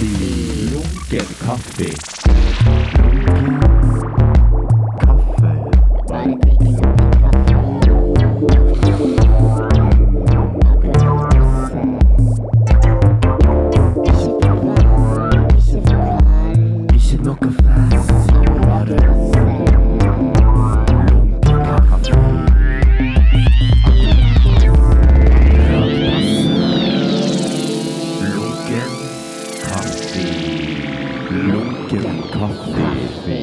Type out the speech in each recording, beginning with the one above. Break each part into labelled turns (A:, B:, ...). A: Lunken kaffe. Kaffe. Ikke noe fast, bare lunken kaffe. Lunken kaffe. Lunken kaffe.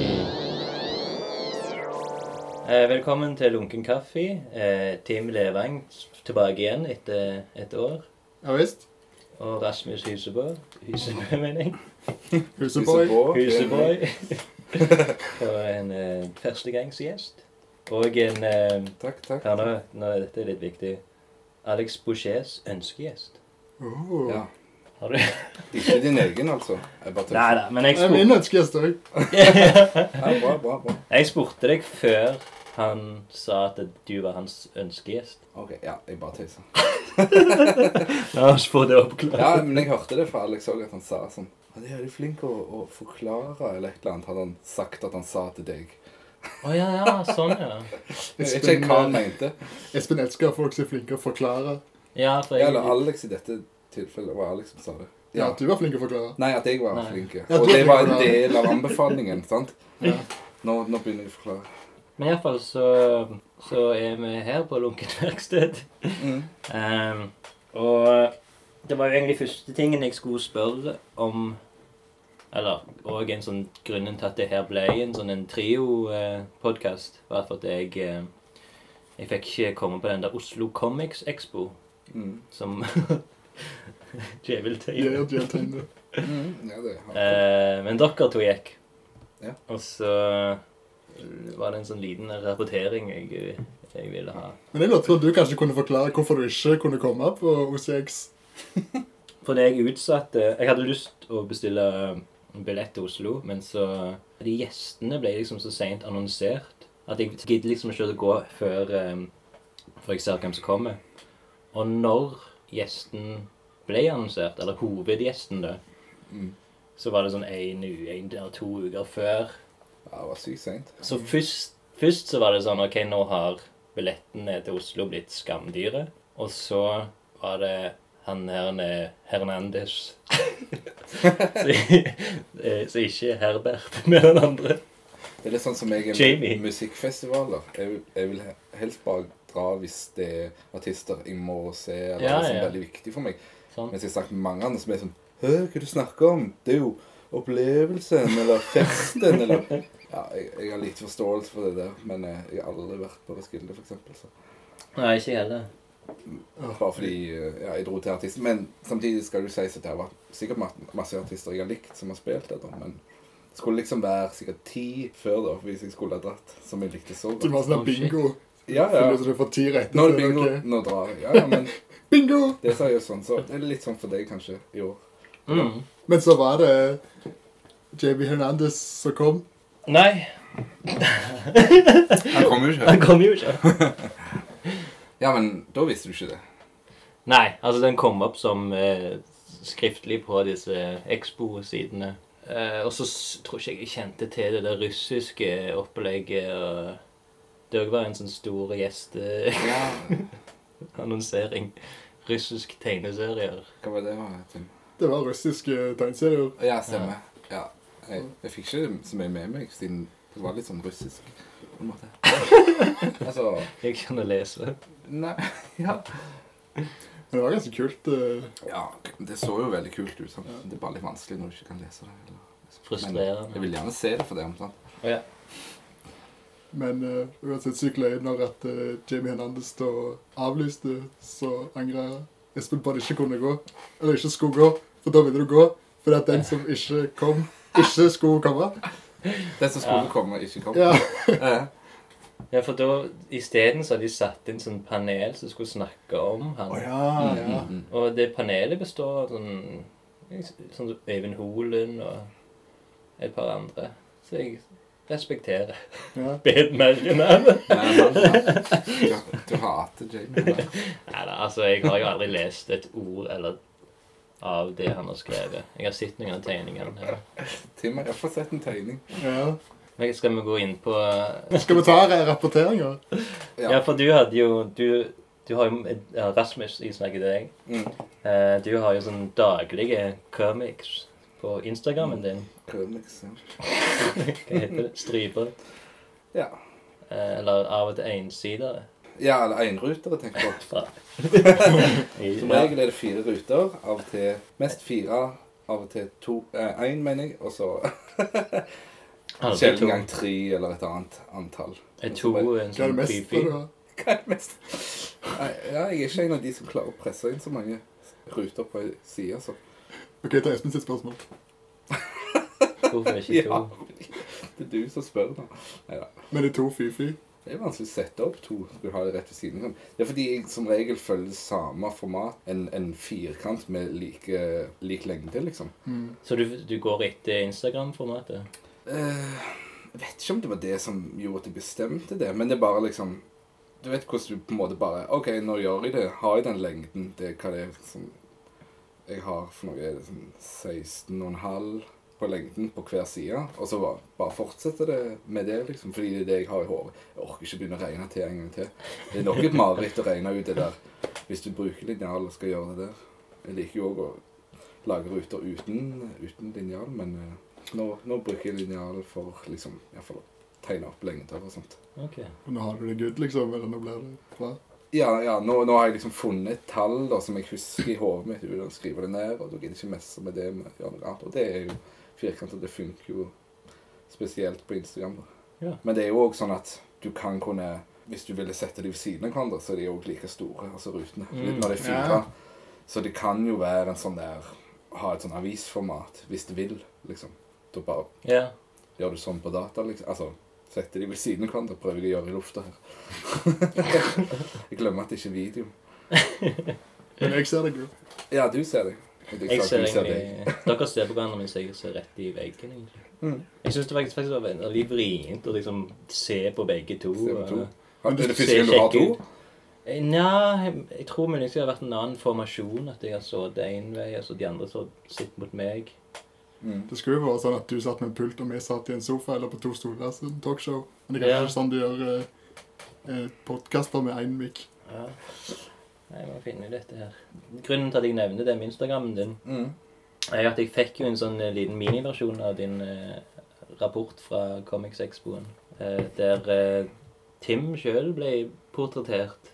B: Eh, velkommen til Lunken kaffe. Eh, Team Levang tilbake igjen etter et år.
C: Ja visst.
B: Og Rasmus Hysebø. Hysebø, mener jeg.
C: Huseboy.
B: Hyseboy. og en eh, førstegangsgjest. Og en eh,
C: Takk, takk.
B: ja, nå, nå er dette litt viktig. Alex Bouchers ønskegjest.
C: Oh.
D: Ja.
B: Har du?
D: Ikke din egen, altså. Jeg bare
B: Nei
D: tenker-
B: da, men jeg
C: Det er min
B: spurte,
C: ønskegjest òg.
D: Ja, bra, bra, bra.
B: jeg spurte deg før han sa at du var hans ønskegjest.
D: Ok, ja, jeg bare tøyser.
B: La oss få det oppklart.
D: Ja, men jeg hørte det fra Alex òg, at han sa sånn Han er veldig flink å, å forklare eller et eller annet, hadde han sagt at han sa til deg.
B: Å ja, ja, sånn, ja.
D: Jeg vet ikke hva han mente.
C: Espen elsker at folk som er flinke å forklare.
B: Ja, for
D: Ja,
B: jeg,
D: Eller Alex i dette tilfellet. var Alex som sa det.
C: Ja,
D: Ja.
C: du var flink å forklare.
D: Nei, at jeg var
B: Nei.
D: flink.
C: Ja,
D: Og
C: du er
D: det var
C: flink,
D: en
C: ja.
D: del av anbefalingen. sant?
C: Ja.
D: Nå, nå begynner jeg å forklare.
B: Men iallfall så, så er vi her på Lunkent verksted.
D: Mm.
B: Ehm, og det var jo egentlig første tingen jeg skulle spørre om Eller og en sånn grunnen til at det her ble en sånn en trio-podkast, var for at jeg eh, Jeg fikk ikke komme på den der Oslo Comics Expo
D: Mm.
B: som
C: Jeg
B: Djeveltøy.
C: er djeveltegnet.
D: Mm. Ja, det har jeg.
B: Eh, men dere to gikk.
D: Ja.
B: Og så var det en sånn liten rapportering jeg, jeg ville ha.
C: Men jeg lurte på om du kanskje kunne forklare hvorfor du ikke kunne komme på OCX.
B: Fordi jeg utsatte Jeg hadde lyst å bestille en billett til Oslo, men så De gjestene ble liksom så seint annonsert at jeg gidder liksom ikke å gå før, eh, før jeg ser hvem som kommer. Og når gjesten ble annonsert, eller hovedgjesten, da,
D: Mm.
B: så var det sånn én eller to uker før.
D: Ja, det var sykt seint.
B: Så først, først så var det sånn OK, nå har billettene til Oslo blitt skamdyre. Og så var det han her nede, Hernandez Så eh, så ikke Herbert, men den andre.
D: Det er litt sånn som jeg er
B: Jamie.
D: med musikkfestivaler. Jeg vil, jeg vil he- helst bare dra hvis det er artister jeg må se, eller
B: Ja,
D: noe som er
B: ja.
D: veldig viktig for meg.
B: Sånn.
D: Mens jeg har snakket med mange andre som er sånn Hø, hva er det du snakker om? Det er jo opplevelsen, eller festen, eller Ja, jeg, jeg har lite forståelse for det der, men eh, jeg har aldri vært på Roskilde, for eksempel. Så.
B: Nei, ikke heller.
D: Bare fordi eh, ja, jeg dro til artisten. Men samtidig skal det jo sies at det har vært sikkert ma- masse artister jeg har likt, som har spilt det, da. Men det skulle liksom være sikkert ti før, da, hvis jeg skulle ha dratt, som jeg likte så
C: Du
D: godt.
C: var sånn
B: Oh,
C: der bingo.
D: Ja,
C: Føler
D: ja.
C: du at du får ti rette?
D: Nå er
C: så
D: det bingo.
C: ok.
D: Nå drar jeg. Ja, ja, men
C: Bingo!
D: det er seriøst sånn, så det er litt sånn for deg kanskje i år.
B: Mm.
C: Men så var det JB Hernandez som kom.
B: Nei,
D: Han kommer jo
B: han kom jo ikke.
D: Ja, men da visste du ikke det.
B: Nei, altså den kom opp som eh, skriftlig på disse Expo-sidene. Eh, og så s- tror ikke jeg jeg kjente til det der russiske opplegget. og Det òg var en sånn stor
D: Ja.
B: gjesteannonsering. Russisk tegneserier.
D: Hva var det, da, Tim?
C: Det var russiske tegneserier.
D: Ja, stemmer. Ja. Jeg, jeg fikk ikke så mye med meg, siden det var litt sånn russisk. På en måte. Altså
B: Jeg kan lese.
D: Nei. Ja.
C: Men det var ganske kult. eh,
D: ja. Det så jo veldig kult ut. Sant? Det er bare litt vanskelig når du ikke kan lese det. Eller. Jeg
B: Frustrerende.
D: vil gjerne se det for det. Sant?
B: Å ja.
C: Men eh, uansett sykt løye når at eh, Jamie Hernandez da avlyste, så angrer Espen på at det ikke kunne gå. Eller ikke skulle gå, for da ville du gå. For at den som ikke kom, ikke skulle komme.
D: Den som skulle
B: Ja.
D: komme, ikke kom.
C: Ja,
D: Eh,
B: ja, for da isteden så har de satt inn sånn panel som skulle snakke om han.
C: ja, ja.
D: mm, mm.
B: Og det panelet består av sånn Sånn som Øyvind Holen og et par andre. Så jeg respekterer
C: ja.
B: bedmerkene.
D: Men han, ja. Du, du hater Jamie. eller?
B: Nei da, altså, jeg har jo aldri lest et ord eller av det han har skrevet. Jeg har sett noen av tegningene. her.
D: Tim har iallfall sett en tegning.
C: Ja.
B: Men skal vi gå inn på
C: Skal vi ta ra- rapporteringer?
B: Ja, for du hadde jo Du, du har jo ja, Rasmus, jeg snakker til deg.
D: Mm.
B: Eh, Du har jo sånn daglige comics på Instagrammen din.
D: Krønix, ja.
B: Hva heter det? Striper.
D: Ja.
B: Eh, Eller av og til ensider.
D: Ja, eller enrutere, tenker jeg på.
B: Fra-
D: Som
B: Ja.
D: regel er det fire ruter. Av og til mest fire, av og til to eh, Én, mener jeg, og så
B: Aldri
D: sjelden
B: to.
D: gang tre eller et annet antall.
B: Er to en
C: Hva er det
B: sånn
C: mest
B: creepy?
C: du har?
D: Hva er det mest Nei, ja, Jeg er ikke en av de som klarer å presse inn så mange ruter på ei side. Så.
C: OK, ta Espen sitt spørsmål.
B: Hvorfor ikke to?
D: Ja. Det er du som spør, da.
C: Men det er to fy-fy.
D: Det er vanskelig å sette opp to. Du har det rett ved siden av. Det er fordi jeg som regel følger samme format. En, en firkant med like, lik lengde, liksom.
C: Mm.
B: Så du, du går etter Instagram-formatet?
D: Eh, Jeg vet ikke om det var det som gjorde at jeg bestemte det, men det er bare liksom Du vet hvordan du på en måte bare OK, nå gjør jeg det. Har jeg den lengden? Det er hva det er som jeg har for noe er det sånn 16,5 på lengden på hver side. Og så bare, bare fortsetter det med det, liksom. Fordi det er det jeg har i hodet. Jeg orker ikke begynne å regne til en gang til. Det er nok et mareritt å regne ut det der hvis du bruker linjal og skal gjøre det der. Jeg liker jo òg å lage ruter uten, uten linjal, men eh, nå, nå bruker jeg linjal for liksom, i hvert fall å tegne opp lengder og sånt.
B: Ok.
C: Og nå har du det good, liksom. Eller nå blir det bra.
D: Ja, ja, nå, nå har jeg liksom funnet et tall da, som jeg husker i hodet mitt uten å skrive det ned. Og du gidder ikke messe med det, men gjøre noe annet. Og det er jo firkantet. Det funker jo spesielt på Instagram. da.
B: Ja.
D: Men det er jo òg sånn at du kan kunne Hvis du ville sette dem ved siden av hverandre, så er de òg like store, altså rutene.
B: Mm.
D: Når det er fire.
C: Ja.
D: Så det kan jo være en sånn der Ha et sånn avisformat hvis du vil, liksom. Da bare
B: Ja.
D: Gjør du sånn på data, liksom? Altså, setter de ved siden av hverandre, prøver jeg å gjøre i lufta her. jeg glemmer at det ikke er video.
C: Men jeg ser deg, jo.
D: Ja, du ser det. Jeg,
B: Jeg
D: sa
B: ser
D: at du
B: egentlig Dere ser på hverandre mens jeg ser rett i veggen. egentlig.
D: Mm.
B: Jeg syns det faktisk, faktisk var veldig litt vrient å liksom se på begge to.
D: Se på to.
B: eh.
D: Ja, Er det
B: ser
D: første gang du har
B: kjekk
D: to?
B: ut. Eh, Nja, jeg, jeg tror muligens det har vært en annen formasjon. At jeg har sittet én vei, og så de andre så sitter mot meg.
D: Mm.
C: Det skulle jo være sånn at du satt med en pult, og vi satt i en sofa eller på to stoler. Sånn talkshow. Men det er
B: Ja.
C: kanskje ikke sånn du gjør eh, eh, podkaster med én mic.
B: Ja. Nei, Jeg må finne ut dette her. Grunnen til at jeg nevner det med Instagrammen din,
D: Mm.
B: er jo at jeg fikk jo en sånn eh, liten miniversjon av din eh, rapport fra Comics Expoen, eh, der eh, Tim sjøl ble portrettert.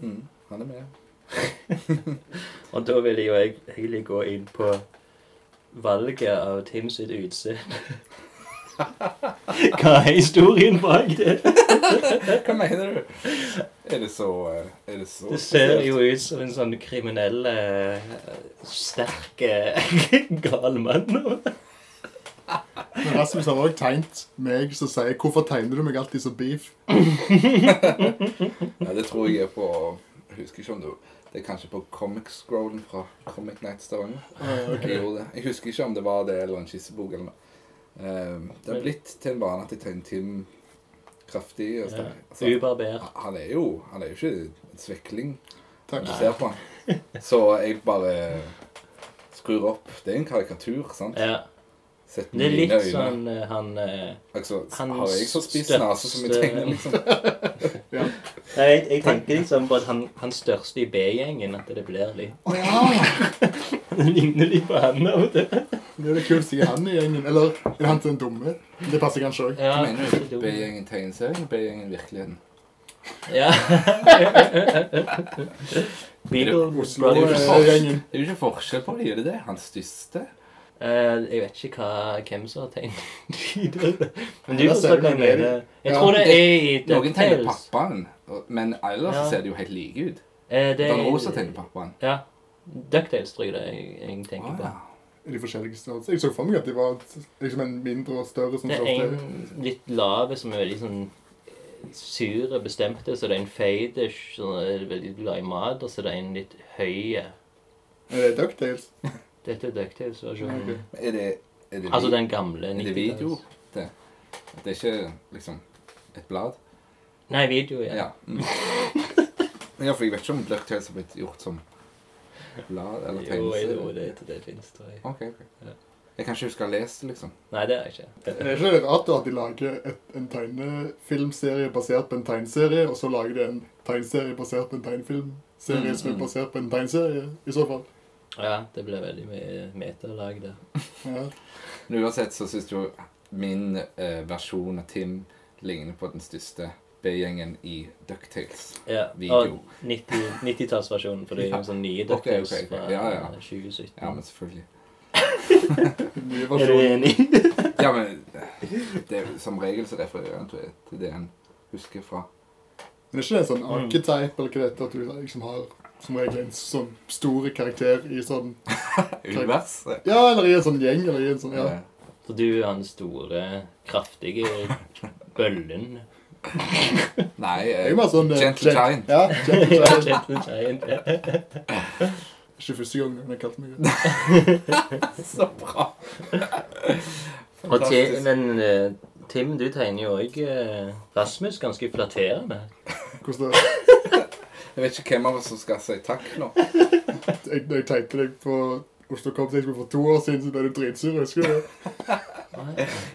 D: Mm. Han er med.
B: Og da vil jeg jo eg- egentlig gå inn på valget av Tim sitt utseende. Hva er historien bak det?
D: Hva mener du? Er det så eh, Er det så
B: Det ser jo ut som en sånn kriminell, eh, sterk, eh, gal mann. nå.
C: Men Rasmus har også tegnet meg som sier 'Hvorfor tegner du meg alltid som beef?'
D: Ja, det tror jeg er på Jeg husker ikke om du Det er kanskje på Comic Scrollen fra Comic Night Stavanger.
B: Ah,
C: Eh, ok.
D: Jeg gjorde det. Jeg husker ikke om det var det eller en skissebok eller noe. Eh, det har blitt til en vane at jeg tegner Tim kraftig. Og
B: Ja,
D: sterk. Altså,
B: Ubarbert.
D: han er jo han er jo ikke en svekling
C: Takk.
D: når du ser på han. Så jeg bare skrur opp. Det er en karikatur, sant?
B: Ja.
D: Sett
B: Det
D: med
B: er
D: mine
B: litt
D: øyne.
B: sånn eh, han eh,
D: altså,
B: han
D: Har jeg så spiss
B: støtte-
D: nese som jeg tegner, liksom?
B: Nei, jeg, jeg tenker liksom på at han, han største i B-gjengen, at det blir litt
C: Ja!
B: Det ligner litt på han av og til.
C: Det er det kult å si han i gjengen. Eller er han til den dumme? Det passer kanskje òg.
D: Hva
B: Ja,
D: mener
B: ikke
D: du?
B: dum.
D: B-gjengen tegneserien, B-gjengen virkeligheten.
B: Ja. Beagle
D: Det er, jo
B: Brothers.
C: Oslo,
D: ikke
C: eh,
D: forskjell-
C: gjengen.
D: det er jo ikke forskjell på dem, er det det? Han største?
B: Eh, jeg vet ikke hva, hvem som har tegnet videre. Men du
C: Ja, da ser
B: forstår
C: du
B: hva jeg
C: mer.
B: mener. Jeg
C: Ja,
B: tror det
D: det-
B: er i
D: Noen tegner
B: DuckTales.
D: pappaen, og- men ellers
B: Ja.
D: så ser de jo helt like ut.
B: Eh, det
D: Dan
B: er-
D: Rosa tegner pappaen.
B: Ja. DuckTales tror jeg det er jeg, jeg tenker
D: Å,
B: på.
D: ja.
C: Er de forskjellige størrelser? Jeg så for meg at de var liksom en mindre og større som
B: Det er
C: største.
B: en litt lave som er veldig sånn eh, sure bestemte, så det er en feidish som er veldig glad i mat, og så det er en litt høye.
C: Er det DuckTales?
B: Dette er DuckTales-versjonen.
C: Ok.
D: Er det, er det,
B: Altså
D: vi-
B: den gamle
D: er det
B: 90-talls.
D: video? Det. det er ikke liksom et blad?
B: Nei, video, ja.
D: Ja. Mm. ja, for jeg vet ikke om DuckTales har blitt gjort som blad eller
B: Jo, jo,
D: tegneserie?
B: det, det finnes, tror jeg.
D: OK. ok.
B: Ja.
D: Jeg kan ikke huske å ha lest det, liksom.
B: Nei, det er jeg ikke. Det,
C: Er ikke det rart da at de lager et, en tegnefilmserie basert på en tegneserie, og så lager de en tegneserie basert på en tegnefilmserie som
D: Mm,
C: er
D: mm.
C: basert på en tegneserie, i så fall?
B: ja, det ble veldig mye metalag der.
C: Ja.
D: Men uansett så syns jo min eh, versjon av Tim ligner på den største B-gjengen i Ducktales.
B: Ja,
D: Video.
B: og 90 90-tallsversjonen, for det er jo en sånn nye
D: Ok, ok,
B: Ducktails
D: ok.
B: fra
D: Ja, ja.
B: 2017.
D: Ja, men selvfølgelig.
C: Den nye
B: Er du
C: versjonen.
B: enig?
D: Ja, men eh, det er jo som regel så refererer han til til det han husker fra.
C: Men er ikke det en sånn
B: Mm.
C: archetype eller hva det heter, at du liksom har som regel en sånn stor karakter i sånn
D: Universet.
C: Ja, eller i en sånn gjeng, eller i en sånn Ja.
D: Eh,
B: Så du er han store, kraftige bøllen.
D: Nei,
C: Det er
D: eh,
C: jo mer sånn eh,
D: Gentle
C: gen-
D: Giant.
C: Ja, Gentle Giant.
B: Gentle Giant.
C: Ikke første gang noen har kalt meg det.
D: Så bra!
B: Og Ti-
D: Fantastisk.
B: men eh, Tim, du tegner jo òg Rasmus ganske flatterende.
C: Hvordan det
D: Jeg vet ikke hvem av oss som skal si takk nå.
C: jeg, når jeg tenkte deg på Oslo Cops Expo for to år siden, så ble du dritsur. Husker du det?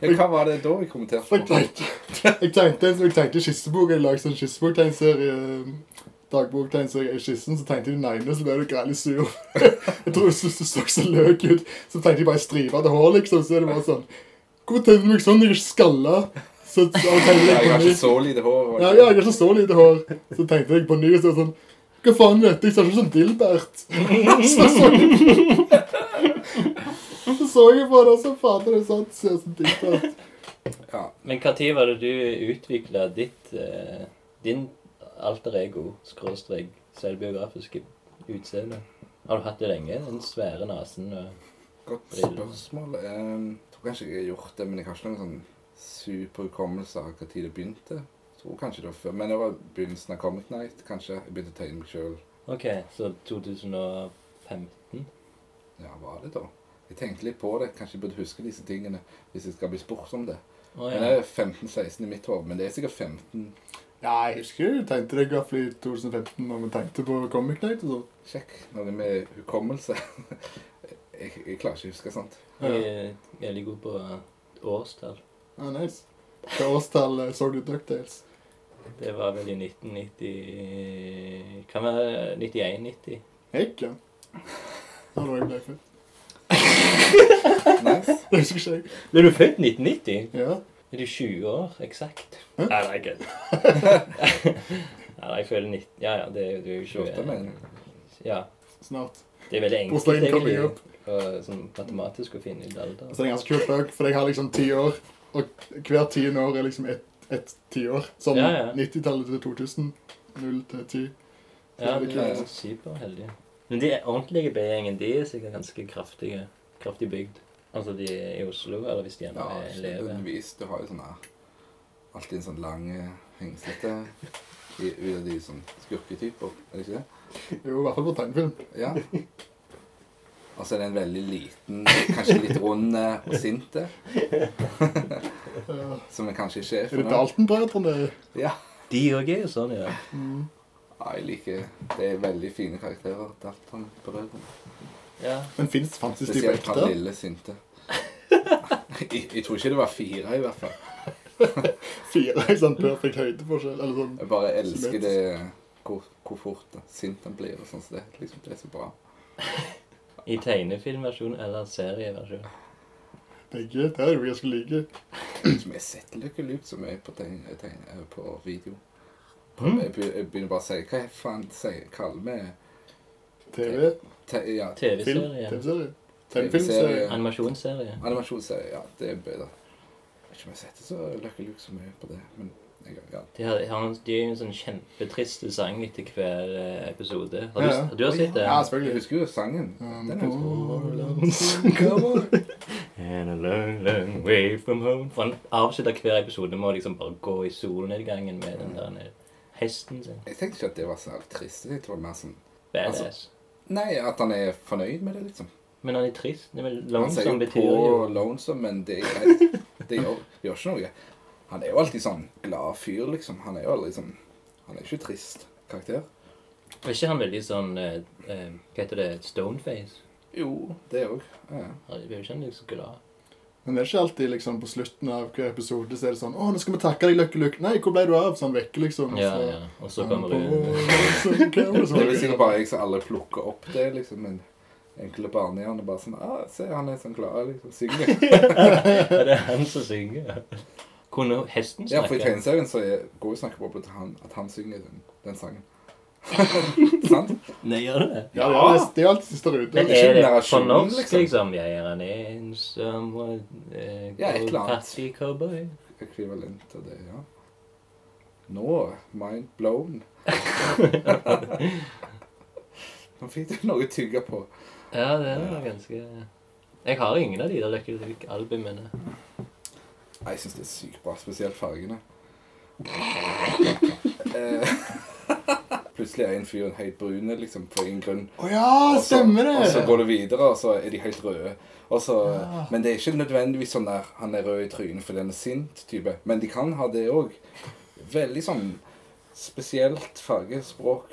D: Ja, hva var det da vi kommenterte
C: For Jeg
D: på?
C: tenkte, jeg tenkte, en- jeg tenkte skissebok. Jeg lagde sånn skisseboktegnserie. Dagboktegnserie i skissen. Så tenkte jeg den ene, så ble du grælig sur. Jeg tror jeg syntes du så så løk ut. Så tenkte jeg bare stripa til hår, liksom. Så er det bare sånn Hvorfor tegner du meg sånn? Jeg er ikke skalla. Så så tegner
D: Ja,
C: jeg
D: Jeg
C: på
D: har
C: ny.
D: ikke så lite hår.
C: Ja, ja, jeg har ikke så lite hår. Så tenkte jeg på ny, så var det sånn Hva faen er dette? Jeg ser ikke ut som Dilbert. Så så jeg på Så så jeg på det, og så fader, det er sant. Ser ut som Dilbert.
D: Ja,
B: Men når var det du utvikla ditt eh, din alter ego, skråstrek, selvbiografiske utseende? Har du hatt det lenge? Den svære nesen og
D: Godt
B: Briller.
D: spørsmål. Ehm, Jeg tror kanskje jeg har gjort det, men jeg har ikke noen sånn super hukommelse av hva tid det begynte. Jeg tror kanskje det var før, men det var begynnelsen av Comic Night, kanskje. Jeg begynte å tegne meg sjøl.
B: OK, så 2015?
D: Ja, var det da? Jeg tenkte litt på det. Kanskje jeg burde huske disse tingene hvis jeg skal bli spurt om det.
B: Å
D: Men det
B: ja.
D: er 15-16 i mitt hode, men det er sikkert 15.
C: Ja, jeg husker du tenkte deg i hvert fall i 2015 når vi tenkte på Comic Night og sånn.
D: Sjekk noe med hukommelse. Jeg, jeg klarer ikke å huske sånt.
B: Jeg er veldig god på årstall.
C: Ja, nice. Hva årstall eh, så du Ducktails?
B: Det var vel i 1990 Kan være 91-90.
C: Hekken. Da var jeg blei født.
D: Nice.
C: Det husker ikke jeg.
B: Ble du født 1990?
C: Ja.
B: Er du 20 år eksakt?
C: Hæ?
B: Nei, nei, kødd. Nei, jeg føler 19 Ja, ja, det er jo- du er jo
D: 28,
B: 20.
D: mener jeg.
B: Ja.
C: Snart.
B: Det er veldig enkelt,
C: Bursdagen coming
B: egentlig,
C: up.
B: å- sånn matematisk å finne ut alder.
C: Så det er en ganske kult dag, for jeg har liksom ti år, og hver tiende år er liksom ett et tiår. Sånn
B: Ja, ja.
C: 90-tallet til 2000. 0 til 10.
B: Ja, du
D: Ja,
B: er
D: ja.
B: superheldig. Men de ordentlige B-gjengen, de er sikkert ganske kraftige. Kraftig bygd. Altså de er i Oslo, eller hvis de ennå
D: Ja,
B: er
D: ikke
B: elever.
D: nødvendigvis. Du har jo sånne Alltid en sånn lang, eh, hengslete i- ut av de sånn skurketyper, er det ikke det?
C: Jo, i hvert fall på tegnefilm.
D: Ja. Og så er det en veldig liten, kanskje litt rund eh, og sinte,
C: Ja.
D: som er kanskje ikke er
C: Er det
D: fornøyd.
C: Dalton-brødrene?
D: Ja.
B: De òg er jo sånn, ja.
C: Mm.
D: ja, jeg liker Det er veldig fine karakterer, Dalton-brødrene.
B: ja.
C: Men fins faktisk de på
D: Spesielt han
C: ekte?
D: lille sinte. Jeg, jeg tror ikke det var fire, i hvert fall.
C: Fire i sånn perfekt høydeforskjell? Eller sånn
D: Jeg bare elsker det eh, hvor, hvor fort eh, sint han blir og sånn som det. Liksom, det er så bra.
B: I tegnefilmversjon eller serieversjon.
C: begge. Det er jo ganske like.
D: Som jeg setter ikke ut så mye på, tegn, tegn, eh, på video.
B: Mm.
D: Jeg, be- jeg begynner bare å si Hva faen sier kaller vi
C: TV.
D: te, ja,
C: Film.
B: TV-serie.
C: TV-serie. Tegnefilmserie.
B: Animasjonsserie.
D: Animasjonsserie, ja, det er bedre. Jeg vet ikke om jeg setter så Lucky Luke så mye på det, men jeg, ja.
B: De har, har en, de har jo en sånn kjempetrist sang etter hver eh, episode. Har du,
C: Ja, ja.
B: du har sett det?
C: Ja,
D: Jeg
C: selvfølgelig.
D: husker jo sangen.
C: Um,
D: Den er jo
B: And a long, long way from home. For han avslutter hver episode med å liksom bare gå i solnedgangen med den der ned- hesten sin.
D: Jeg tenkte ikke at det var så trist. Jeg tenkte det var mer sånn
B: Badass.
D: Nei, at han er fornøyd med det, liksom.
B: Men han er trist. Det er vel
D: Han sier
B: lonesome
D: jo
B: betyr
D: på
B: jo
D: lonesome, men det, er greit. det gjør, gjør ikke noe. Han er jo alltid sånn glad fyr, liksom. Han er jo aldri sånn Han er ikke trist karakter.
B: Er ikke han veldig sånn eh, eh, Hva heter det? Stoneface?
D: Jo, det òg. Ja.
B: Ja, det blir jo ikke han liksom glad.
C: Men det er ikke alltid liksom på slutten av hver episode så er det sånn 'Å, nå skal vi takke deg, Lucky Luke.' 'Nei, hvor ble du av?' Så han vekker, liksom. og
B: Ja,
C: så-
B: ja. Og så kommer hun
C: sånn.
D: Det er sånn- vel sikkert bare jeg som aldri plukker opp det, liksom. Men enkle barnehjerne bare sånn ah, 'Se, han er sånn glad', liksom. Synger.
B: Er det han som synger? Kunne hesten
D: Ja, for i
B: snakke?
D: tegneserien så er- går jo snakkebobla til han at han synger den, den sangen. Sant?
B: Nei, gjør det det?
C: Ja, det er det er alltid siste rute.
B: Men
D: ikke
B: er det på
D: narrasjon,
B: norsk,
D: liksom.
B: liksom? Jeg er en ensom og eh,
D: Ja, et eller annet.
B: fattig cowboy.
D: Ekvivalent til det, ja. Nå Mind blown. Nå fikk du noe å tygge på.
B: Ja, det er jo ganske Jeg har ingen av de der Lucky Luke-albumene.
D: Nei, Jeg syns det er sykt bra, spesielt fargene. Eh, Plutselig er en fyr en helt brune, liksom, på ingen grunn.
C: Å ja,
D: Og så-
C: stemmer
D: Og så
C: det!
D: går det videre, og så er de helt røde. Og så,
C: Ja.
D: Men det er ikke nødvendigvis sånn der han er rød i trynet fordi han er sint type. Men de kan ha det òg. Veldig sånn spesielt fargespråk.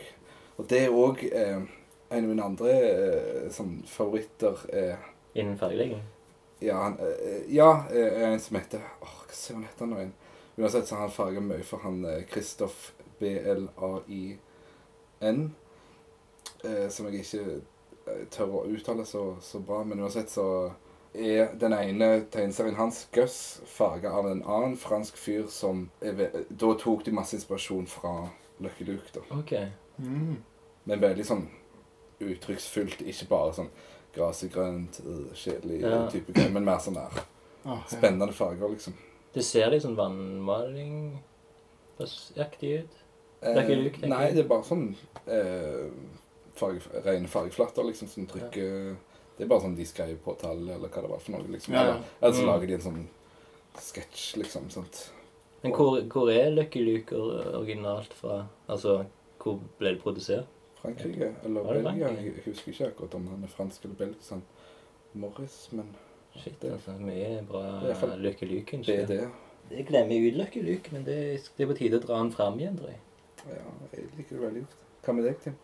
D: Og det er òg eh, en av mine andre eh, sånn favoritter eh,
B: Innen fargelegging.
D: Ja, han, eh, ja eh, en som heter Åh, hva ser han heter nå igjen? Uansett så har han farga mye for han eh, Kristoff B-L-A-I-N. Eh, som jeg ikke eh, tør å uttale så, så bra, men uansett så er den ene tegneserien hans, Gus, farga av en annen fransk fyr som er ve- Da tok de masse inspirasjon fra Lucky Luke, da.
B: OK.
C: Mm.
D: Men veldig sånn uttrykksfullt, ikke bare sånn Gresset grønt, øh, kjedelig
B: Ja.
D: type greier, men mer sånn der
C: Ah, ja.
D: Spennende farger, liksom.
B: Det ser litt sånn vannmalingaktig ut. Det er ikke luk, tenker
D: Eh, nei,
B: jeg.
D: det er bare sånn eh, farge, rene fargeflater liksom, som trykker Det er bare sånn de skrev på tall, eller hva det var for noe. liksom.
C: Ja, ja.
D: Eller, eller så
B: Mm.
D: lager de en sånn sketsj, liksom. sant?
B: Men hvor, hvor er Lucky Luke or- originalt fra? Altså, hvor ble det produsert?
D: Frankrike eller
B: Var det
D: Belgia.
B: Frankrike?
D: Jeg jeg husker ikke akkurat om han er fransk eller belgisk. han Morris, men
B: Shit,
D: Det-
B: altså. Mye
D: Det er i hvert
B: bra
D: fall
B: Lucky Luke.
D: det er det.
B: Jeg glemmer ut Lucky Luke, men det, det er på tide å dra den fram igjen, tror jeg.
D: Ja, jeg liker det veldig godt. Hva med deg, Tim?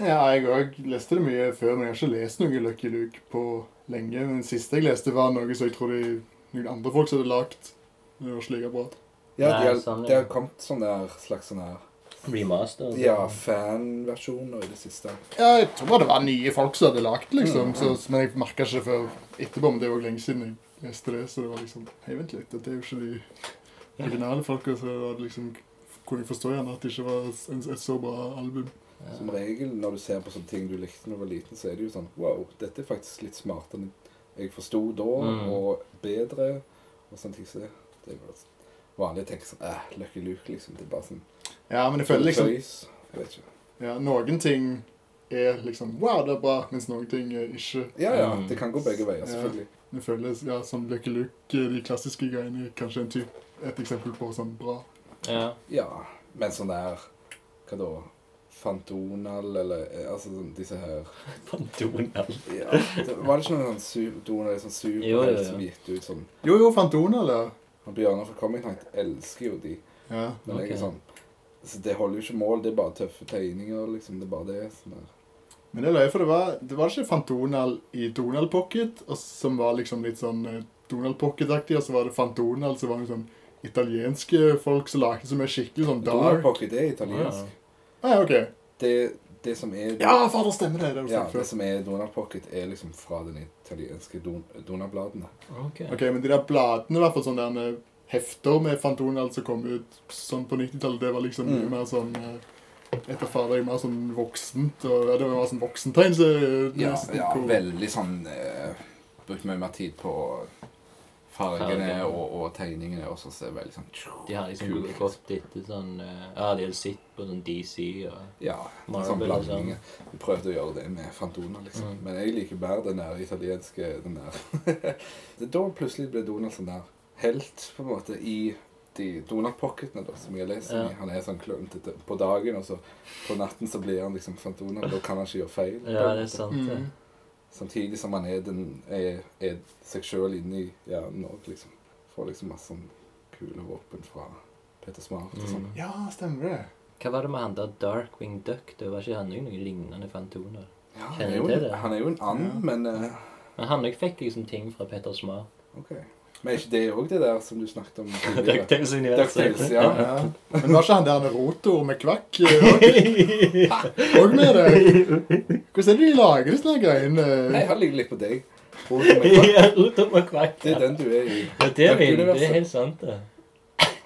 C: Ja, jeg òg leste det mye før, men jeg har ikke lest noe Lucky Luke på lenge. Men det siste jeg leste, var noe som jeg tror de, noen andre folk som hadde lagd. Det var ikke like bra.
D: Ja,
B: Nei,
D: de har,
B: sånn,
D: de
B: ja.
D: har kommet sånn der slags sånn her
B: Remaster. altså.
D: Ja, fanversjoner i det siste.
C: Ja, jeg tror bare det var nye folk som hadde lagd, liksom. Så, men jeg merka ikke det før etterpå. Men det var lenge siden jeg leste det, så det var liksom Hei, vent litt, dette er jo ikke de originale folka, så det var liksom kunne jeg forstå igjen at det ikke var en- et så bra album.
B: Ja.
D: Som regel når du ser på sånne ting du likte da du var liten, så er det jo sånn Wow, dette er faktisk litt smartere enn jeg forsto da,
B: Mm.
D: og bedre, og sånne ting som det. Det er jo bare vanlig å tenke sånn Æh, Lucky Luke, liksom. Det er bare sånn
C: Ja, men jeg føler liksom
D: tøys. Jeg vet ikke.
C: ja, Noen ting er liksom Wow, det er bra, mens noen ting er ikke
D: Ja, ja.
B: Mm.
D: Det kan gå begge veier,
C: Ja.
D: selvfølgelig.
C: Jeg føler ja, som Lucky Luke, eh, de klassiske greiene, er kanskje en typ, et eksempel på sånn bra.
B: ja.
D: Ja. Men sånn der Hva da? Fantonal, eller eh, Altså sånn disse her
B: Donald.
D: ja. det- Var det ikke noen sånn su- Donald sånn
B: Jo, jo, jo.
D: superhelt som gitt ut sånn
C: Jo, jo, Fantona, eller?
D: Han Bjørnar fra Comic Night elsker jo de.
C: Ja.
D: Men jeg
B: Ok.
D: er sånn så Det holder jo ikke mål, det er bare tøffe tegninger. liksom, det er bare det. Sånn der.
C: Men det er løye, for det var, det var ikke Fantonal i Donald Pocket, og som var liksom litt sånn eh, Donald Pocket-aktig, og så var det Fantonal, som var liksom italienske folk som lagde som er skikkelig sånn dark.
D: Donald Pocket er italiensk.
C: Ah, ja, ok.
D: Det, det som er
C: Ja, fader, stemmer det. det var
D: Ja,
C: sånn
D: det
C: før.
D: som er Donald Pocket, er liksom fra den italienske don Donald-bladene.
B: Ok.
C: Ok, men de der bladene, i hvert fall sånn der eh, hefter med Fantonal som kom ut sånn på 90-tallet, det var liksom mye
D: Mm.
C: mer sånn eh, etter fader, mer sånn voksent, og ja, det var mer sånn voksentegn, så
D: Ja,
C: nesten
D: ja
C: hvor-
D: veldig sånn eh, Brukt mye mer tid på fargene
B: Farger.
D: og, og tegningene også, så det er veldig sånn
B: De har liksom
D: Kult.
B: gått etter sånn eh, Ja, de har sett på sånn DC og
D: Ja.
B: Marvel
D: sånn
B: og
D: blandinger. Vi prøvde å gjøre det med Fantona, liksom.
B: Mm.
D: Men jeg liker bedre den der italienske den der. det er da plutselig ble Donald sånn der helt, på en måte, i de Donald-pocketene da, som jeg har lest.
B: Ja.
D: om i. Han er sånn kløntete på dagen, og så på natten så blir han liksom Fantona. Da kan han ikke gjøre feil. på en
B: Ja, det er
D: måte.
B: sant, det.
C: Mm.
D: Samtidig som han er, den, er, er seg sjøl inni hjernen òg, liksom. Får liksom masse sånn kule våpen fra Peter Smart og sånn.
B: Mm.
C: Ja, stemmer det.
B: Hva var det med han der Darkwing Duck? Det var ikke han òg noen lignende fantoner?
D: Ja, han,
B: Kjenner
D: er jo,
B: til det.
D: han er jo en and,
C: Ja.
D: men eh,
B: Men han òg fikk liksom ting fra Peter Smart.
D: OK. Men er ikke det òg det der som du snakket om? tidligere? DuckTales,
B: Ducktails-universet.
D: ja.
C: Ja. Men var ikke han der en rotor med kvakk eh, og og med det? Hvordan er det de lager disse her greiene?
D: Nei, altså, han ligger litt på deg. Det
B: Rot om og kvakk.
D: er den du er i.
B: Ja, det er, min, det
D: Duck-universet.
B: er helt sant, det.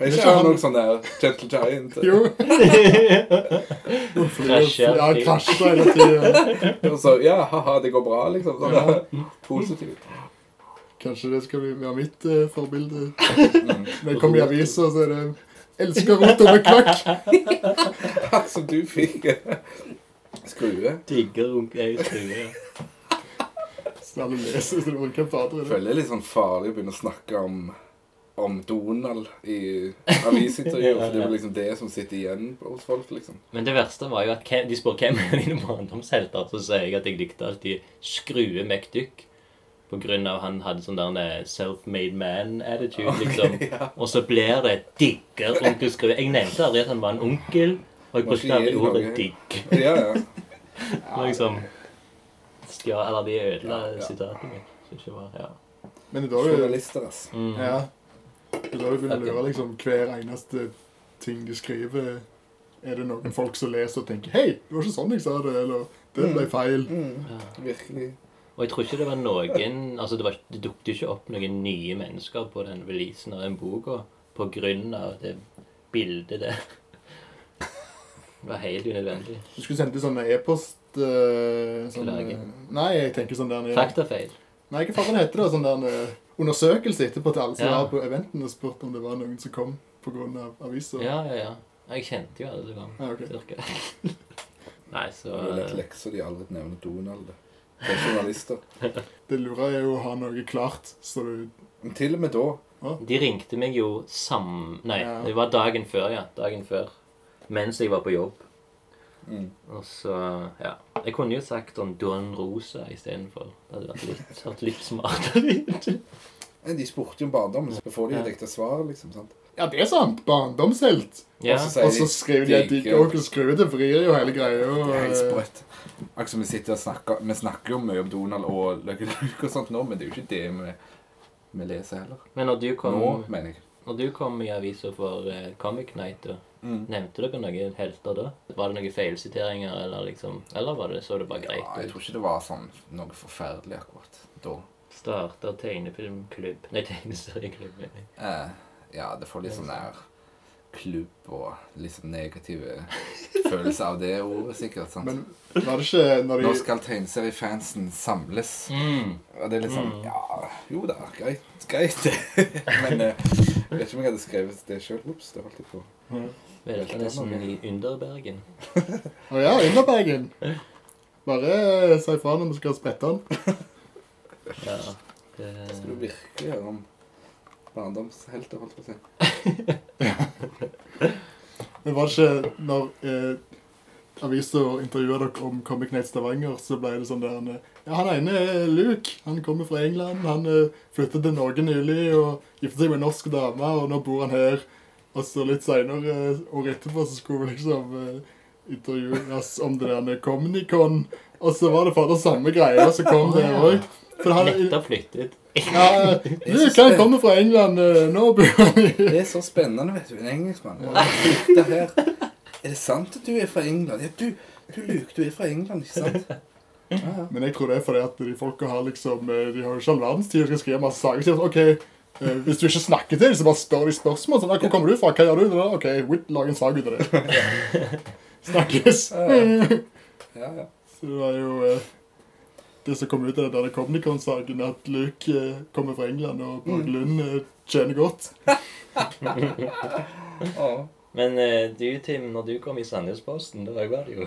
D: Er ikke han noe sånn der Gentle Giant?
C: Jo.
B: Krasjer.
C: Ja, han krasjer hele tiden.
D: Og så, ja, ha-ha, det går bra, liksom. Sånn, Positivt.
C: Kanskje det skal bli være mitt eh, forbilde.
D: Mm.
C: Når jeg kommer i avisa, så er det Elsker rotor med kvakk.
D: Som du fikk skrue.
B: Digger runke i stua.
C: Så alle leser så det var hvem fader er det?
D: Føler det er litt sånn farlig å begynne å snakke om, om Donald i avisintervjuer. For det er vel liksom det som sitter igjen hos folk, liksom.
B: Men det verste var jo at hvem, de spør hvem er dine barndomshelter, så sier jeg at jeg likte alltid Skrue McDuck. På grunn av han hadde sånn der en self-made man-attitude, liksom. Og så blir det 'digger onkel Skrue'. Jeg nevnte aldri at han var en onkel, og jeg
D: Må
B: brukte
D: ikke gi
B: aldri
D: dem noe.
B: ordet 'digg'.
D: Ja, ja.
B: Det var liksom Stjal Eller de ødela
D: Ja, ja.
B: sitatet mitt. Så ikke var, ja.
C: Men det er da du
D: Journalister, ass.
B: Mm.
C: Ja. Det er da du begynner å lure liksom, hver eneste ting de skriver. Er det noen folk som leser og tenker 'Hei, det var ikke sånn jeg sa det', eller 'Det ble feil'.
D: Mm,
B: Ja.
D: virkelig.
B: Og jeg tror ikke det var noen Altså, det, var, det dukket ikke opp noen nye mennesker på den releasen av den boka på grunn av det bildet der. Det var helt unødvendig.
C: Du skulle sendt ut sånne e-post eh, sånn,
B: Klage.
C: eh, Nei, jeg tenker sånn der nede.
B: Faktafeil.
C: Nei, hva faen heter det? Sånn der eh, undersøkelse etterpå til alle som
B: Ja.
C: var på eventen og spurte om det var noen som kom pga. avisa.
B: Ja, ja, ja. Jeg kjente jo alle som kom.
C: Ja, ok.
B: Cirka. Nei, så eh,
D: Det er lett lekser de aldri nevner Donald. Det er journalister.
C: Det lure er jo å ha noe klart, så du
D: Men til og med da
B: eh, De ringte meg jo sam... Nei,
C: Ja.
B: det var dagen før, ja. Dagen før. Mens jeg var på jobb.
D: Mm.
B: Og så, ja. Jeg kunne jo sagt sånn Don Rosa istedenfor. Det hadde vært litt, vært litt smartere.
D: Nei, eh, De spurte jo om barndommen, så får de et ekte svar, liksom. sant?
C: Ja, det er sant! Barndomshelt.
B: Ja.
D: Og så sier
C: Og så skriver de at de ikke orker å skru det, vrir jo hele greia.
D: Det
C: og,
D: er helt
C: eh,
D: sprøtt. Akkurat som vi sitter og snakker Vi snakker jo mye om Donald og Lucky Luke og sånt nå, men det er jo ikke det vi, vi leser heller.
B: Men når du kom,
D: Nå, mener jeg.
B: når du kom i avisa for eh, Comic Night, da, nevnte dere noen helter da? Var det noen feilsiteringer, eller liksom Eller var det, så det bare
D: Ja, jeg
B: greit
D: tror
B: ut?
D: ikke det var sånn noe forferdelig akkurat da.
B: Starta tegnefilmklubb Nei, tegneserieklubb. mener jeg.
D: Eh, ja, det får litt sånn der klubb og litt sånn negative følelser av det ordet, sikkert. sant?
C: eh, Men var det ikke når
D: Nå
C: de
D: skal tegneseriefansen samles. Og det er litt sånn Ja, jo da, greit, greit det. Men eh, jeg vet ikke om jeg hadde skrevet det sjøl. Ops, det holdt jeg på.
B: Velta nesten i Underbergen.
C: Å ja, Underbergen. Bare eh, si fra når vi skal sprette den.
B: Ja.
D: Skal du
B: Det,
D: virkelig høre om barndomshelter, holdt jeg på å si?
C: Men var det ikke når eh, avisa intervjua dere om Comic Night Stavanger, så ble det sånn der han, eh, Ja, han ene er Luke. Han kommer fra England. Han eh, flyttet til Norge nylig og giftet seg med en norsk dame, og nå bor han her. Og så litt seinere, eh, året etterpå, så skulle vi liksom eh, intervjues om det der med Comnicon. Og så var det fader samme greia som kom der òg.
B: nettopp flyttet.
C: Ja, Luke, han kommer fra England. eh, Nå bor han i
D: Det er så spennende, vet du. En engelskmann. Og han sitter her. Er det sant at du er fra England? Ja, du, du Luke, du er fra England, ikke sant? Ja, ja.
C: Men jeg tror det er fordi at de folka har liksom eh, De har jo ikke all verdens tid og skal skrive masse saker. Så jeg sier, ok, eh, Hvis du ikke snakker til dem, så bare spør de spørsmål. Sånn, «Ah, 'Hvor kommer du fra? Hva gjør du?' Da? 'OK, Whit, lag en sak ut av det.' Snakkes.
D: ja, ja.
C: Så det var jo eh, det som kom ut av det der Comnicon-saken, at Luke eh, kommer fra England, og Borg Lund eh, tjener godt.
D: Å,
B: Men eh, du, Tim, når du kom i Sandnesposten, da var det jo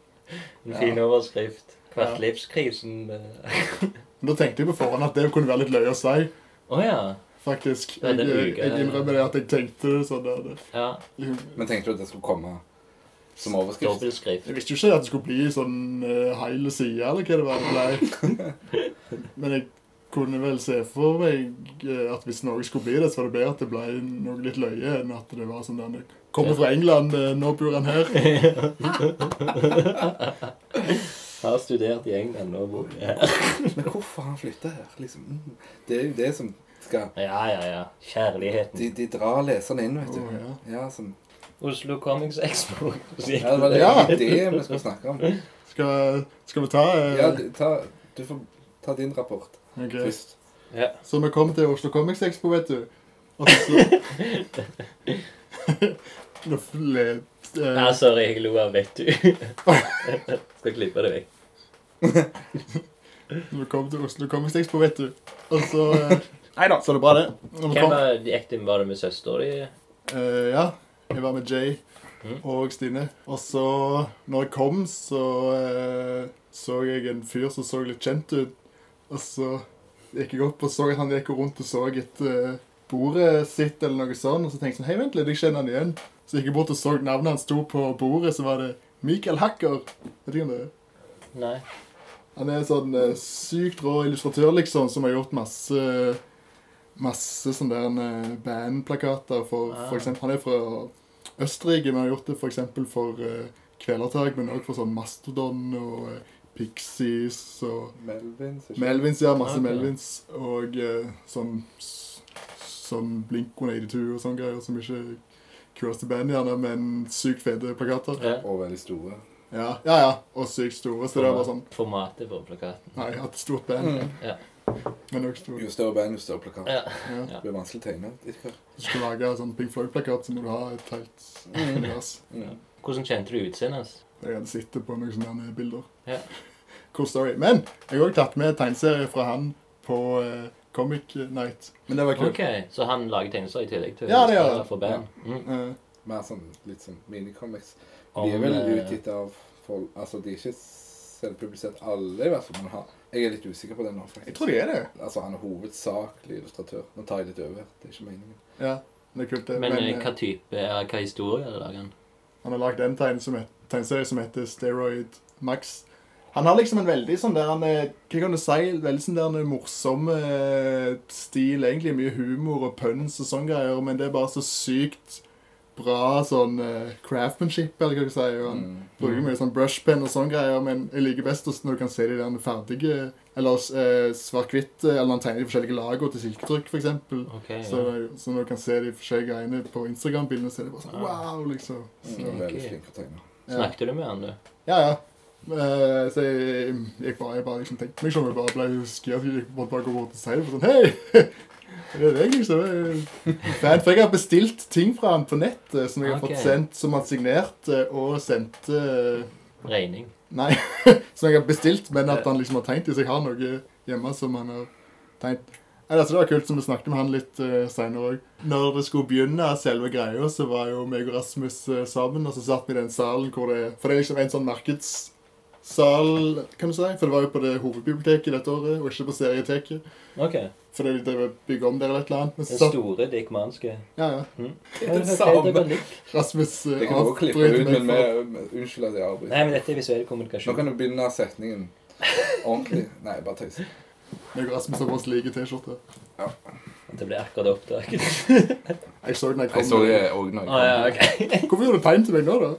B: en fin
D: Ja.
B: overskrift. Kvartlivskrisen eh.
C: Men da tenkte jeg på forhånd at det kunne være litt løye å si,
B: Å ja.
C: faktisk.
B: Ja,
C: Jeg, eh,
B: det er
C: jeg,
B: uke, ja.
C: innrømmer det at jeg tenkte det sånn. Der, det.
B: ja.
C: Liksom,
D: Men tenkte du at det skulle komme som overskrift?
B: Dobbeltskrift.
C: Jeg visste jo ikke eh, at det skulle bli sånn uh, heile side, eller hva det var det ble. Men jeg kunne vel se for meg eh, at hvis Norge skulle bli det, så var det bedre at det ble noe litt løye enn at det var sånn der Kommer fra England, eh, nå bor han her.
B: Har studert i England og bor her.
D: Men hvorfor har han flytta her? Liksom? Mm. Det er jo det som skal
B: Ja, ja, ja.
D: De,
B: Kjærligheten.
D: de drar leserne inn, vet du.
C: Å, ja.
D: Ja, som,
B: Oslo Comics Expo.
D: ja, det var det,
C: Ja.
D: det vi skulle snakke om.
C: Skal, skal vi ta eh,
D: Ja, du, ta, du får ta din rapport
C: ok.
D: først.
B: Ja.
C: Så vi kom til Oslo Comics Expo, vet du. Og så Nå fle- eh,
B: Nei, Ah, sorry, jeg lo av 'vet du'. Skal klippe det vekk.
C: Vi kom til Oslo Comics Expo, vet du. Og så eh, Nei da, så er det bra, det. Når vi
B: Hvem
C: kom,
B: var de ekte? Var det med søster di?
C: eh, ja, jeg var med Jay
B: Mhm.
C: og Stine. Og så, når jeg kom, så eh, så jeg en fyr som så litt kjent ut. Og så gikk jeg opp og så at han gikk rundt og så etter eh, bordet sitt eller noe sånt. Og så tenkte jeg sånn Hei, vent litt, jeg kjenner han igjen. Så gikk jeg bort og så navnet hans sto på bordet, så var det Michael Hacker. Vet du hvem det er?
B: Nei.
C: Han er en sånn eh, sykt rå illustratør, liksom, som har gjort masse Masse sånne der eh, bandplakater for,
B: Ah.
C: for eksempel, Han er fra Østerrike, men har gjort det for eksempel for eh, Kvelertak, men også for sånn Mastodon og eh, Pixies og
D: Melvin så-
C: Melvins, ja. Masse
B: Ah, ok.
C: Melvins. Og eh, sånn s- Sånn Blink-182 og sånne greier som ikke er kuleste band, gjerne, men sykt fete plakater.
B: Ja.
D: Og veldig store.
C: Ja, ja. ja. Og sykt store, så det er bare sånn
B: Formatet på plakaten.
C: Nei, jeg har hatt et stort band,
B: Ja.
C: men også stort.
D: Jo større band, jo større plakat.
B: ja.
C: Mm. Ja.
D: Det blir vanskelig å tegne. etter hvert.
C: Hvis du skal lage en sånn Pink Floyd-plakat, så må du ha et helt univers.
D: Mm.
B: Hvordan kjente du utseendet hans?
C: Jeg hadde sittet på noen sånne bilder.
B: Ja.
C: Cool story. Men jeg har også tatt med tegneserier fra han på eh, Comic Night. Men det var kult.
B: Ok, Så han lager tegneserier i tillegg til
C: Ja, det gjør han.
B: for band? Mm.
C: Eh,
D: Mer sånn litt sånn minicomics.
B: Om,
D: De er vel
B: eh,
D: utgitt av folk Altså, de er ikke selvpublisert alle, i hvert fall. Men han- jeg er litt usikker på det nå, faktisk.
C: jeg tror de er det.
D: Altså, han er hovedsakelig illustratør. Nå tar jeg litt over. Det er ikke meningen.
C: Ja, det er kult. det.
B: Men, eh,
C: eh,
B: hva type eh, hva historie lager han?
C: Han har lagd en tegne som het- tegneserie som heter Steroid Max. Han har liksom en veldig sånn der han er- Hva kan du si? Veldig sånn der han er morsom eh, stil, egentlig. Mye humor og pønns og sånne greier, men det er bare så sykt bra sånn eh, craftmanship, eller hva du sier. Og han
D: Mm.
C: bruker mye sånn brushpen og sånne greier, men jeg liker best også når du kan se de der ferdige Eller eh, svart-hvitt, eh, eller han tegner de forskjellige lagene til silketrykk, f.eks.
B: Ok, ja.
C: Så, så når du kan se de forskjellige greiene på Instagram-bildene, så er det bare sånn wow, liksom. Så,
D: Mm. Veldig
B: Ok.
D: flink til å tegne.
C: ja.
B: Snakket du med han, du?
C: Ja, ja. Eh, så jeg gikk bare, jeg bare liksom tenkte meg sånn, jeg bare ble skjert, jeg måtte bare gå bort og si det, for sånn, hei, det er det liksom. eh, Fan, for jeg har bestilt ting fra han på nettet, som jeg har
B: Ok.
C: fått sendt, som han signerte, og sendte, eh,
B: Regning.
C: nei, som jeg har bestilt, men at han liksom har tegnet i, så jeg har noe hjemme som han har tegnet. Nei, altså det var kult som vi snakket med han litt eh, senere også. Når det skulle begynne selve greia, så var jo meg og Rasmus eh, sammen, og så satt vi i den salen hvor det For det er liksom en sånn markedssal, kan du si. For det var jo på det hovedbiblioteket dette året, og ikke på serieteket.
B: Ok.
C: Fordi de drev og bygde om der eller et eller annet. Men så
B: Den
C: satt
B: store dickmanske.
C: Ja, ja.
D: Det er det samme.
C: Rasmus eh,
D: Det kan du også klippe
C: avbryter
D: ut, men eh,
C: meg for
D: med, med, unnskyld at jeg
B: Nei,
D: avbryter.
B: men dette er visuell
D: Nå
B: kommunikasjon.
D: kan du begynne setningen ordentlig. Nei, bare tøys.
C: Meg og Rasmus har på oss like T-skjorte.
B: Det ble akkurat oppdaget.
C: Jeg så den jeg kom.
D: Jeg så det òg
B: Å
D: nå. jeg kom.
B: Ah, ja, ok.
C: Hvorfor gjorde du tegn til meg nå, da?